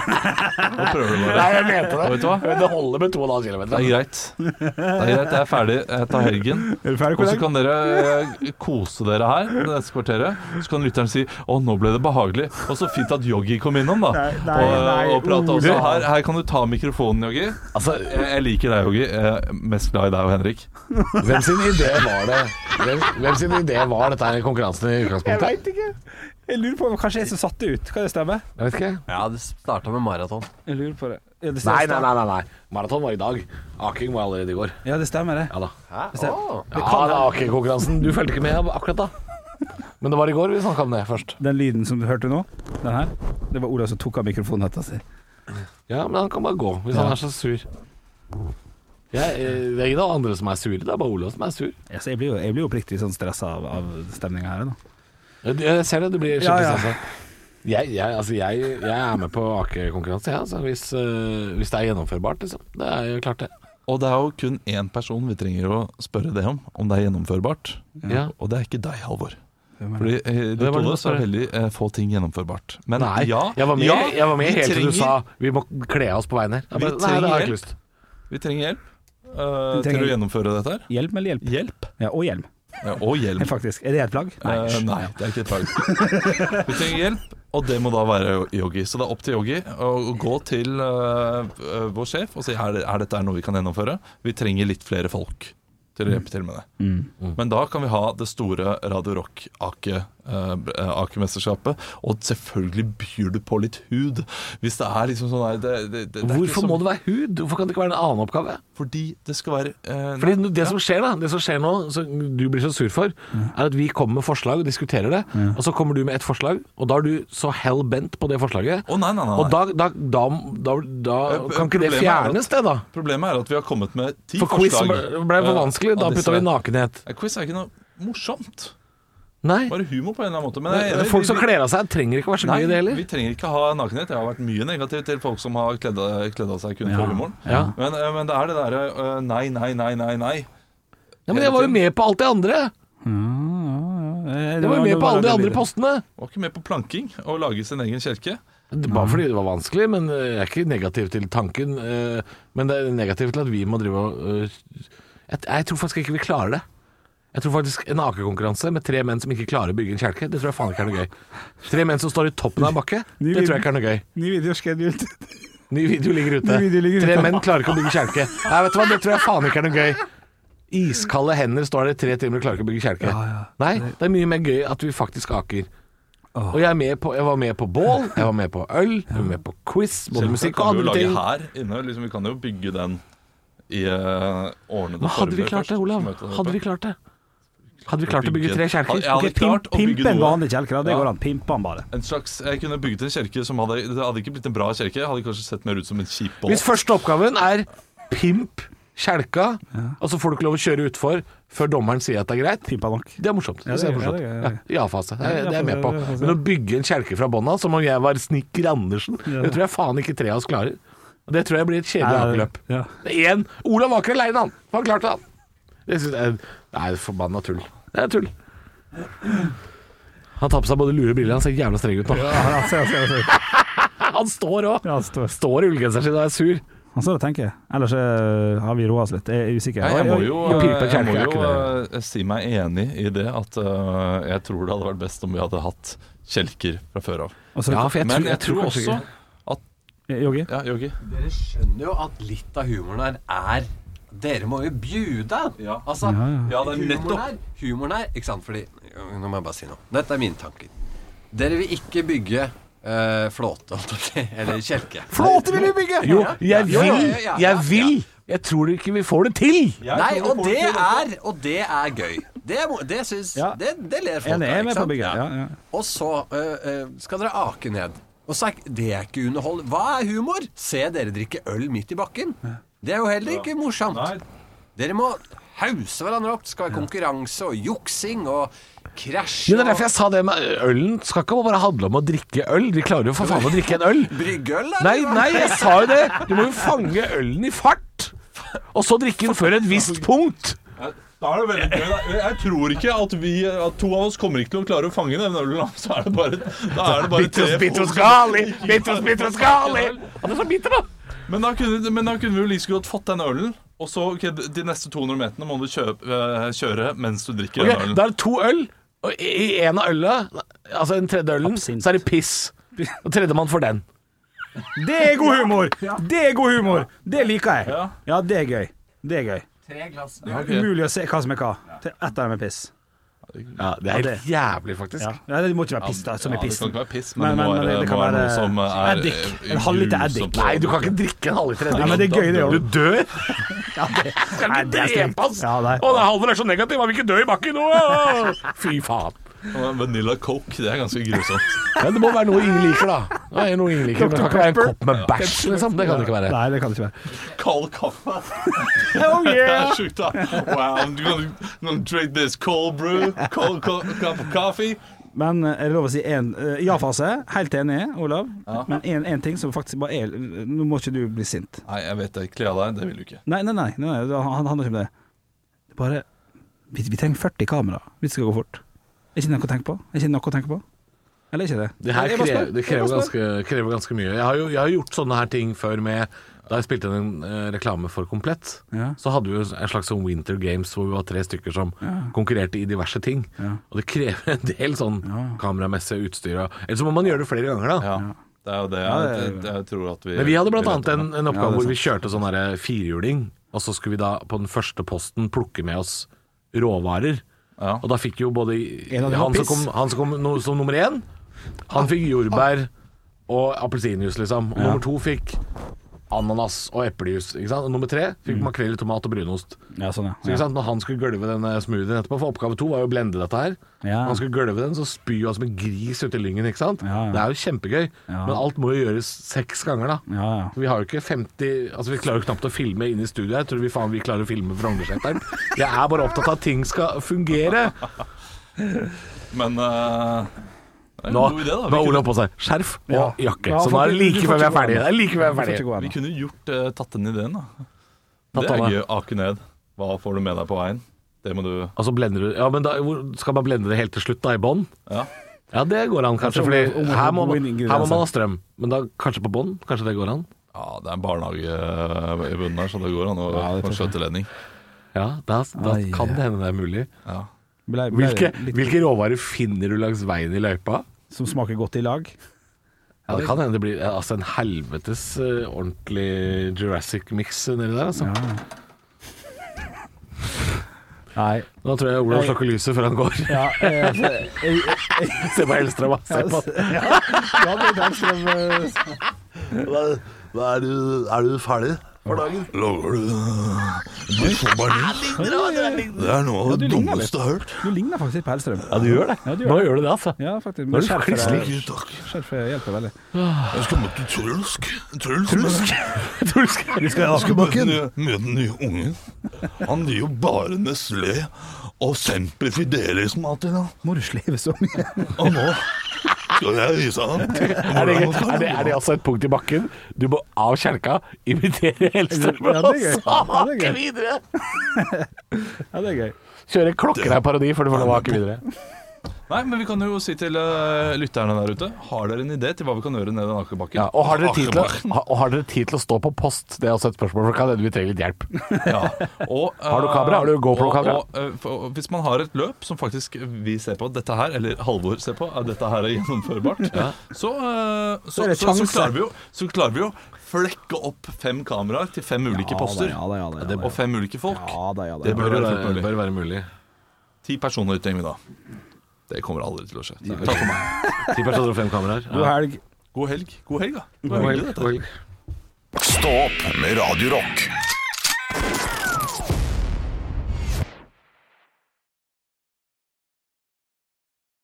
[SPEAKER 5] Nå prøver du bare.
[SPEAKER 6] jeg mente
[SPEAKER 5] Og vet du hva?
[SPEAKER 6] Det holder med 2,5 km.
[SPEAKER 5] Det er greit. Det er greit, Jeg er ferdig. Jeg tar helgen.
[SPEAKER 4] Er du ferdig,
[SPEAKER 5] Og så
[SPEAKER 4] kollega?
[SPEAKER 5] kan dere eh, kose dere her det neste kvarteret. Så kan lytteren si 'Å, nå ble det behagelig'. Og så fint at Joggi kom innom, da.
[SPEAKER 4] Nei, nei,
[SPEAKER 5] og,
[SPEAKER 4] nei,
[SPEAKER 5] og prate også.
[SPEAKER 4] Ole.
[SPEAKER 5] Her, her kan du ta mikrofonen, Joggi.
[SPEAKER 6] Altså,
[SPEAKER 5] Jeg, jeg liker deg, Joggi. Jeg er mest glad i deg og Henrik.
[SPEAKER 6] hvem sin idé var det? Hvem, hvem sin idé var dette her konkurransen i
[SPEAKER 4] Jeg
[SPEAKER 6] utgangspunktet?
[SPEAKER 4] veit ikke. Jeg lurer på om Kanskje jeg som satt det ut? Kan det stemme?
[SPEAKER 6] Jeg vet ikke.
[SPEAKER 7] Ja, det starta med maraton.
[SPEAKER 4] Jeg lurer på det. Ja, det
[SPEAKER 6] Nei, nei,
[SPEAKER 4] stemmer.
[SPEAKER 6] nei. nei, nei. Maraton var i dag. Aking var allerede i går.
[SPEAKER 4] Ja, det stemmer, det.
[SPEAKER 6] Ja da.
[SPEAKER 4] Stem-
[SPEAKER 6] Ja, det er aking-konkurransen. Du fulgte ikke med akkurat da. Men det var i går vi snakka om det først.
[SPEAKER 4] Den lyden som du hørte nå, den her, det var Olav som tok av altså. mikrofonhetta si.
[SPEAKER 6] Ja, men han kan bare gå hvis han er så sur. Jeg, eh, det er ingen av andre som er sure, det er bare Olav som er sur.
[SPEAKER 4] Ja, så jeg blir jo, jeg blir jo oppriktig sånn stressa av, av stemninga her. Da.
[SPEAKER 6] Jeg ser det, du blir
[SPEAKER 4] Ja, ja.
[SPEAKER 6] skikkelig stressa. Jeg, jeg, altså jeg, jeg er med på akekonkurranse, jeg, altså, hvis, øh, hvis det er gjennomførbart. Liksom. Det er jo klart, det.
[SPEAKER 5] Og det er jo kun én person vi trenger å spørre det om, om det er gjennomførbart.
[SPEAKER 6] Ja.
[SPEAKER 5] Og det er ikke deg, Halvor. Fordi eh, du
[SPEAKER 6] Hvem var det
[SPEAKER 5] trodde
[SPEAKER 6] du
[SPEAKER 5] så er
[SPEAKER 6] spør?
[SPEAKER 5] veldig eh, få ting gjennomførbart. Men
[SPEAKER 6] Nei,
[SPEAKER 5] ja,
[SPEAKER 6] jeg var med,
[SPEAKER 5] ja,
[SPEAKER 6] jeg var med
[SPEAKER 5] vi
[SPEAKER 6] helt til du
[SPEAKER 5] trenger-
[SPEAKER 6] sa vi må kle av oss på veien her. Jeg
[SPEAKER 5] Vi
[SPEAKER 6] bare, Nei, det har jeg
[SPEAKER 5] trenger
[SPEAKER 6] ikke lyst til.
[SPEAKER 5] Vi trenger hjelp eh, til
[SPEAKER 4] trenger-
[SPEAKER 5] å gjennomføre dette her.
[SPEAKER 4] Hjelm eller hjelp?
[SPEAKER 5] Hjelp.
[SPEAKER 4] Ja, og hjelm,
[SPEAKER 5] Ja, og hjelm.
[SPEAKER 4] faktisk. Er det et plagg? Eh,
[SPEAKER 5] Nei,
[SPEAKER 6] Eh,
[SPEAKER 5] Eh, nei, det er ikke et plagg. Vi trenger hjelp, og det må da være Yogi. Så det er opp til Yogi å å gå til eh, eh, vår sjef og si er, det- er dette er noe vi kan gjennomføre. Vi trenger litt flere folk til å hjelpe til med det.
[SPEAKER 6] Mm.
[SPEAKER 5] Men da kan vi ha det store Radio Rock-akemesterskapet. og selvfølgelig byr du på litt hud. Hvis det er liksom sånn her det, det, det, det er
[SPEAKER 6] Hvorfor
[SPEAKER 5] ikke så-
[SPEAKER 6] må det være hud? Hvorfor kan det ikke være en annen oppgave?
[SPEAKER 5] Fordi det skal være eh,
[SPEAKER 6] Fordi det som skjer da, det som skjer nå, som du blir så sur for, er at vi kommer med forslag og diskuterer det, og så kommer du med et forslag, og da er du så hell-bent på det forslaget,
[SPEAKER 5] Å, nei, nei, nei.
[SPEAKER 6] og da, da, da, da, da
[SPEAKER 5] Eh,
[SPEAKER 6] kan ikke det
[SPEAKER 5] problemet er at-
[SPEAKER 6] fjernes det da?
[SPEAKER 5] Problemet er at vi har kommet med ti
[SPEAKER 6] For quiz
[SPEAKER 5] forslag.
[SPEAKER 6] ble ble for
[SPEAKER 5] eh,
[SPEAKER 6] vanskelig,
[SPEAKER 5] av
[SPEAKER 6] da
[SPEAKER 5] disse.
[SPEAKER 6] putta vi nakenhet.
[SPEAKER 5] Eh, Quiz er ikke noe morsomt.
[SPEAKER 6] Nei,
[SPEAKER 5] Bare humor på en eller annen måte. Men jeg er enig,
[SPEAKER 6] folk som
[SPEAKER 5] vi-
[SPEAKER 6] kler av seg trenger ikke være så
[SPEAKER 5] Nei,
[SPEAKER 6] mye i det heller.
[SPEAKER 5] vi trenger ikke ha nakenhet. Jeg har vært mye negativ til folk som har kledd, kledd av seg kun for humoren.
[SPEAKER 6] Ja.
[SPEAKER 5] Men, eh, men det er det derre eh, nei, nei, nei, nei, nei.
[SPEAKER 6] Ja, men jeg var jo med på alt det andre. Jeg var jo med på alle de andre postene.
[SPEAKER 5] Var ikke med på planking og lage sin egen kirke.
[SPEAKER 6] Det var fordi det var vanskelig, men eh, jeg er ikke negativ til tanken. eh, Men det er negativt til at vi må drive og eh, Jeg, jeg tror faktisk ikke vi klarer det. Jeg tror faktisk en akekonkurranse med tre menn som ikke klarer å bygge en kjelke, det tror jeg faen ikke er noe gøy. Tre menn som står i toppen av en bakke, det tror jeg ikke er noe gøy.
[SPEAKER 4] Ny video scheduled.
[SPEAKER 6] Ny video ligger ute.
[SPEAKER 4] Ny video ligger
[SPEAKER 6] Tre
[SPEAKER 4] ute.
[SPEAKER 6] menn klarer ikke å bygge kjelke. Nei, vet du hva, det tror jeg faen ikke er noe gøy. Iskalde hender står der i tre timer og klarer ikke å bygge kjelke. Nei, det er mye mer gøy at vi faktisk aker. Og jeg, er med på, jeg var med på bål, jeg var med på øl, jeg var med på quiz, både musikk og
[SPEAKER 5] kan
[SPEAKER 6] andre
[SPEAKER 5] vi jo lage
[SPEAKER 6] ting.
[SPEAKER 5] her inne. Liksom, vi kan jo bygge den i eh, ordnede
[SPEAKER 6] Men hadde vi
[SPEAKER 5] former
[SPEAKER 6] klart det,
[SPEAKER 5] først,
[SPEAKER 6] Olav?
[SPEAKER 5] møte oss
[SPEAKER 6] Hadde vi
[SPEAKER 5] oppe.
[SPEAKER 6] klart det? Hadde vi klart å bygge tre
[SPEAKER 5] Hadde-
[SPEAKER 6] kjelker?
[SPEAKER 5] Jeg hadde
[SPEAKER 4] Ok, pimp,
[SPEAKER 5] klart å
[SPEAKER 4] pimpe
[SPEAKER 5] bygge
[SPEAKER 4] en
[SPEAKER 5] noe.
[SPEAKER 4] vanlig kjelker, da. det
[SPEAKER 5] Ja.
[SPEAKER 4] går an. Pimpe han bare.
[SPEAKER 5] En slags, jeg kunne bygget en kirke som hadde Det hadde ikke blitt en bra kirke. Hadde kanskje sett mer ut som en kjip båt.
[SPEAKER 6] Hvis første oppgaven er pimp kjelka, og så får du ikke lov å kjøre utfor før dommeren sier at det er greit,
[SPEAKER 4] Pimpa nok.
[SPEAKER 6] det er morsomt. Det
[SPEAKER 4] det
[SPEAKER 6] er
[SPEAKER 4] er-
[SPEAKER 6] morsomt.
[SPEAKER 4] ja, det er-
[SPEAKER 6] Ja, Ja-fase. Det, er- det er jeg med på.
[SPEAKER 4] Ja, ja-fase.
[SPEAKER 6] Men å bygge en kjelke fra bånn av, som om jeg var snekker Andersen, det tror jeg faen ikke tre av oss klarer. Og Det tror jeg blir et kjedelig akeløp.
[SPEAKER 4] Eh, Ja.
[SPEAKER 6] Én Olav Aker aleine, han! Han klarte det, han. Det synes jeg Nei, forbanna tull. Det er tull. Han tar på seg både lue og briller. Han ser jævla streng ut nå.
[SPEAKER 4] Ja, ja, se, se, se.
[SPEAKER 6] Han står òg!
[SPEAKER 4] Ja, han står-
[SPEAKER 6] Står i ullgenseren sin og er sur.
[SPEAKER 4] Han står og tenker. Ellers eh, har vi roa oss litt. Jeg eh, er usikker.
[SPEAKER 5] Nei, jeg må jo,
[SPEAKER 6] Ja, pipe
[SPEAKER 5] jeg må
[SPEAKER 6] kjelke er
[SPEAKER 5] jo
[SPEAKER 6] ikke
[SPEAKER 5] eh, si meg enig i det at eh, jeg tror det hadde vært best om vi hadde hatt kjelker fra før av.
[SPEAKER 4] Og så-
[SPEAKER 6] Ja, for jeg
[SPEAKER 5] Men
[SPEAKER 6] tror,
[SPEAKER 5] jeg tror
[SPEAKER 6] kanskje
[SPEAKER 5] også
[SPEAKER 6] ikke-
[SPEAKER 4] Yogi?
[SPEAKER 5] Ja, Yogi.
[SPEAKER 7] Dere skjønner jo at litt av humoren her er dere må jo bjude! Ja. Altså, ja, det er nettopp humoren her. Ikke sant, fordi Nå må jeg bare si noe. Dette er mine tanker. Dere vil ikke bygge eh, flåte, holdt jeg på å si, eller kjelke.
[SPEAKER 6] Flåte vil vi bygge! Jo, jeg
[SPEAKER 7] Ja, ja,
[SPEAKER 6] vil!
[SPEAKER 7] ja, ja,
[SPEAKER 6] Jeg
[SPEAKER 7] ja.
[SPEAKER 6] vil! Jeg tror ikke vi får det til!
[SPEAKER 7] Nei, og det er, og det er gøy. Det, må- det syns
[SPEAKER 4] Ja.
[SPEAKER 7] det, det ler folk
[SPEAKER 4] Enig, jeg er
[SPEAKER 7] ikke
[SPEAKER 4] med på
[SPEAKER 7] sant?
[SPEAKER 4] bygget. Ja, ja.
[SPEAKER 7] Og så øh, øh, skal dere ake ned. Og så er ikke- det er ikke underhold. Hva er humor? Se dere drikke øl midt i bakken. Det er jo heller ikke morsomt. Dere må hause hverandre opp. Det skal være konkurranse og juksing og krasj
[SPEAKER 6] Jo, det er derfor
[SPEAKER 7] og
[SPEAKER 6] jeg sa det med ølen. Det skal ikke bare handle om å drikke øl. De klarer jo for faen å drikke en øl.
[SPEAKER 7] Bryggeøl, da?
[SPEAKER 6] Nei,
[SPEAKER 7] eller hva?
[SPEAKER 6] nei, jeg sa jo det! Du må jo fange ølen i fart! Og så drikke den før et visst punkt.
[SPEAKER 5] Da er det veldig gøy. da. Jeg tror ikke at, vi, at to av oss kommer ikke til å klare å fange den ølen. da. Så er det bare, da er det bare
[SPEAKER 6] Bitros,
[SPEAKER 5] tre
[SPEAKER 6] bitros, gali! Bitros, bitros, gali! Ja, det er så bitter, da.
[SPEAKER 5] Men da kunne, men da kunne vi jo like så godt fått den ølen. Og så ok, De neste 200 meterne må du kjøpe, eh, kjøre mens du drikker
[SPEAKER 6] Ok,
[SPEAKER 5] den ølen.
[SPEAKER 6] da er det to øl, og i i en av øla, altså den tredje ølen,
[SPEAKER 4] Absint.
[SPEAKER 6] så er det piss. Og tredjemann får den.
[SPEAKER 4] Det er god humor! Det er god humor! Det liker jeg. Ja, det er gøy. Det er gøy. Umulig å se hva som er hva. Til ett av dem er piss.
[SPEAKER 6] Ja, det er helt jævlig, faktisk.
[SPEAKER 4] Ja. Ja, det må ikke være piss, da, som
[SPEAKER 5] Ja,
[SPEAKER 4] er
[SPEAKER 5] det
[SPEAKER 4] piss.
[SPEAKER 5] kan ikke være piss,
[SPEAKER 4] Men-
[SPEAKER 5] men, det må
[SPEAKER 4] men-
[SPEAKER 5] være,
[SPEAKER 4] men det
[SPEAKER 5] må
[SPEAKER 4] kan
[SPEAKER 5] være
[SPEAKER 4] være
[SPEAKER 5] noe som er
[SPEAKER 4] eddik. En halvliter eddik.
[SPEAKER 6] Nei, du kan ikke drikke en halvliter eddik.
[SPEAKER 4] Ja, men det er gøy, det òg.
[SPEAKER 6] Du dør!
[SPEAKER 4] Ja, det-
[SPEAKER 6] Skal
[SPEAKER 4] Nei,
[SPEAKER 6] ikke
[SPEAKER 4] det er strengt.
[SPEAKER 6] drepe oss!
[SPEAKER 4] Ja,
[SPEAKER 6] Å,
[SPEAKER 4] nei.
[SPEAKER 6] det Halvor er så negativ, han vil ikke dø i bakken! Åh! Fy faen.
[SPEAKER 5] Vanilla coke, det er ganske grusomt.
[SPEAKER 6] Men det må være noe ingen liker, da. Det er noe ingen liker. Det kan ikke være en kopp med bæsj, liksom. Det kan det ikke være.
[SPEAKER 4] Nei, det kan det ikke være.
[SPEAKER 5] Kald kaffe. Det er sjukt, da. Wow, I'm gonna, I'm gonna drink this cold brew, cold co cup of coffee.
[SPEAKER 4] Men eh, er det lov å si én ja-fase? Helt enig, Olav. Men én ting som faktisk bare er Nå må ikke du bli sint.
[SPEAKER 5] Nei, jeg vet det. Kle av deg, det vil du ikke.
[SPEAKER 4] Nei, nei, nei. nei, nei det han- handler ikke om det. Det er Bare vi, vi trenger 40 kamera. Vi skal gå fort. Er ikke det noe å tenke på? Er ikke det noe å tenke på? Eller er ikke det?
[SPEAKER 6] Det her
[SPEAKER 4] Jeg bare spør.
[SPEAKER 6] krever, det
[SPEAKER 4] Jeg
[SPEAKER 6] krever,
[SPEAKER 4] bare spør.
[SPEAKER 6] ganske, krever ganske mye. Jeg har jo jeg har gjort sånne her ting før med Da jeg spilte inn en eh, reklame for Komplett,
[SPEAKER 4] Ja.
[SPEAKER 6] så hadde vi jo en slags sånn Winter Games hvor vi var tre stykker som konkurrerte i diverse ting. Og det krever en del sånn kameramessig utstyr. og- Eller så må man gjøre det flere ganger, da.
[SPEAKER 5] Ja. Det er jo det
[SPEAKER 4] Ja,
[SPEAKER 5] jeg,
[SPEAKER 4] det er-
[SPEAKER 5] det- det jeg tror at vi
[SPEAKER 6] Men vi hadde blant
[SPEAKER 5] vi
[SPEAKER 6] annet
[SPEAKER 5] vet
[SPEAKER 6] en, en
[SPEAKER 5] om.
[SPEAKER 4] Ja,
[SPEAKER 6] oppgave
[SPEAKER 4] det er
[SPEAKER 6] hvor vi kjørte sånn her firhjuling, og så skulle vi da på den første posten plukke med oss råvarer.
[SPEAKER 5] Ja.
[SPEAKER 6] Og da fikk jo både
[SPEAKER 4] En av de var
[SPEAKER 6] han som
[SPEAKER 4] piss.
[SPEAKER 6] kom, han som kom no, som nummer én, han fikk jordbær og appelsinjuice, liksom. Og nummer to fikk ananas og eplejus. Ikke sant? Og nummer tre fikk makrell i tomat og brunost.
[SPEAKER 4] Ja, sånn, Mm. ja.
[SPEAKER 6] Så ikke sant, når han skulle gølve denne smoothien etterpå, for oppgave to var jo å blende dette her.
[SPEAKER 4] Ja.
[SPEAKER 6] Når Han skulle gølve den, så spyr han som en gris ut i lyngen, ikke sant.
[SPEAKER 4] Ja, ja.
[SPEAKER 6] Det er jo kjempegøy,
[SPEAKER 4] Ja.
[SPEAKER 6] men alt må jo gjøres seks ganger, da.
[SPEAKER 4] Ja, ja.
[SPEAKER 6] Vi har jo ikke 50 Altså vi klarer jo knapt å filme inne i studio her. Tror du vi faen vi klarer å filme fra Åndesletteren? Jeg er bare opptatt av at ting skal fungere.
[SPEAKER 5] Men eh, det er en
[SPEAKER 6] Nå
[SPEAKER 5] god idé, da.
[SPEAKER 6] var
[SPEAKER 5] Vi kunne-
[SPEAKER 6] Ole på seg skjerf
[SPEAKER 4] Ja.
[SPEAKER 6] og jakke.
[SPEAKER 4] Ja,
[SPEAKER 6] Så nå er det
[SPEAKER 4] faktisk, du
[SPEAKER 6] like før
[SPEAKER 4] får
[SPEAKER 6] vi er
[SPEAKER 4] ikke gå
[SPEAKER 6] ferdige. Det er like før vi
[SPEAKER 4] Vi
[SPEAKER 6] er
[SPEAKER 4] får ikke
[SPEAKER 6] ferdige.
[SPEAKER 4] gå
[SPEAKER 5] Vi
[SPEAKER 4] ennå.
[SPEAKER 5] kunne gjort eh, tatt den ideen, da.
[SPEAKER 6] Tatt
[SPEAKER 5] det
[SPEAKER 6] den,
[SPEAKER 5] er
[SPEAKER 6] ja.
[SPEAKER 5] gøy. Ake ned. Hva får du med deg på veien? Det må du
[SPEAKER 6] Altså blender du Ja, men da hvor- skal man blende det helt til slutt, da, i bånn?
[SPEAKER 5] Ja.
[SPEAKER 6] Ja, det går an, kanskje.
[SPEAKER 4] Kanskje om-
[SPEAKER 6] Fordi
[SPEAKER 4] om- om-
[SPEAKER 6] her må,
[SPEAKER 4] om-
[SPEAKER 6] man-
[SPEAKER 4] om-
[SPEAKER 6] her må man ha strøm. Men da kanskje på bånn? Kanskje det går an?
[SPEAKER 5] ja, det er en barnehage eh, i bunnen her, så det går an å
[SPEAKER 4] Ja, det
[SPEAKER 5] få
[SPEAKER 4] tror jeg.
[SPEAKER 5] skjøteledning.
[SPEAKER 6] Ja, da, da
[SPEAKER 4] Ai,
[SPEAKER 6] kan det hende det er mulig.
[SPEAKER 5] Ja.
[SPEAKER 4] Ble- ble
[SPEAKER 6] Hvilke,
[SPEAKER 4] litt-
[SPEAKER 6] hvilke råvarer finner du langs veien i løypa?
[SPEAKER 4] Som smaker godt i lag.
[SPEAKER 6] Ja, det kan hende det blir altså, en helvetes eh, ordentlig Jurassic-mix nedi der, altså.
[SPEAKER 4] Nei.
[SPEAKER 6] Nå tror jeg Olav slukker lyset før han går.
[SPEAKER 4] Ja, eh, jeg,
[SPEAKER 6] Se på Hellstrøm, ass. Se på.
[SPEAKER 4] ja, det er den som, eh,
[SPEAKER 5] er, du, ferdig for dagen? Lover du Du får bare Det er noe
[SPEAKER 4] det Ja, du ligner dummeste litt.
[SPEAKER 5] jeg har hørt.
[SPEAKER 4] du ligner faktisk litt på Hellstrøm.
[SPEAKER 6] Ja, du gjør det.
[SPEAKER 4] Ja, du gjør
[SPEAKER 6] Nå gjør du det, altså.
[SPEAKER 4] Ja,
[SPEAKER 6] Nå
[SPEAKER 4] faktisk. Men
[SPEAKER 6] er du
[SPEAKER 4] skjerf
[SPEAKER 6] faktisk
[SPEAKER 4] deg-
[SPEAKER 6] lik.
[SPEAKER 5] Takk.
[SPEAKER 4] skjerf deg hjelper veldig.
[SPEAKER 5] Jeg skal møte Trulsk. Truls.
[SPEAKER 6] Du skal
[SPEAKER 5] Jeg skal møte den nye- møte den nye ungen. Han driver jo bare med slø og Semper Fidelis, Martin. da.
[SPEAKER 4] Må du sleve så mye?
[SPEAKER 5] Og nå skal jeg vise ham
[SPEAKER 6] Er det, er, det, er det altså et punkt i bakken? Du må av kjelka, imitere Hellstrøm
[SPEAKER 4] Ja,
[SPEAKER 6] og
[SPEAKER 4] det er gøy. Ja, det er
[SPEAKER 6] sake
[SPEAKER 4] gøy.
[SPEAKER 6] videre!
[SPEAKER 4] Ja, det er gøy.
[SPEAKER 6] Kjøre klokkereir-parodi før du får lov å hake videre.
[SPEAKER 5] Nei, men vi kan jo si til eh, lytterne der ute Har dere en idé til hva vi kan gjøre ned den akebakken?
[SPEAKER 6] Ja, og, har dere tid til å, ha- og har dere tid til å stå på post? Det er også et spørsmål, for det kan hende vi trenger litt hjelp.
[SPEAKER 5] Ja. Og, eh,
[SPEAKER 6] Har du kamera? Har du GoPro-kamera?
[SPEAKER 5] og- og, eh, for- og Hvis man har et løp som faktisk vi ser på, dette her, eller Halvor ser på, at dette her er gjennomførbart, så, eh, så,
[SPEAKER 4] er
[SPEAKER 5] så,
[SPEAKER 4] det
[SPEAKER 5] så,
[SPEAKER 4] sjanse.
[SPEAKER 5] klarer vi jo, så klarer vi jo flekke opp fem kameraer til fem ulike poster.
[SPEAKER 4] Ja da, ja da, ja da, ja da.
[SPEAKER 5] Og fem ulike folk.
[SPEAKER 4] Ja da, ja da.
[SPEAKER 5] Det
[SPEAKER 4] Ja,
[SPEAKER 5] bør være fullt mulig.
[SPEAKER 6] være mulig.
[SPEAKER 5] Ti personer trenger vi da. Det kommer aldri til å skje. Takk for meg.
[SPEAKER 6] Ti personer og fem kameraer.
[SPEAKER 4] God helg.
[SPEAKER 5] God helg. God helg, da.
[SPEAKER 6] God helg.
[SPEAKER 1] Stå opp med Radio Rock.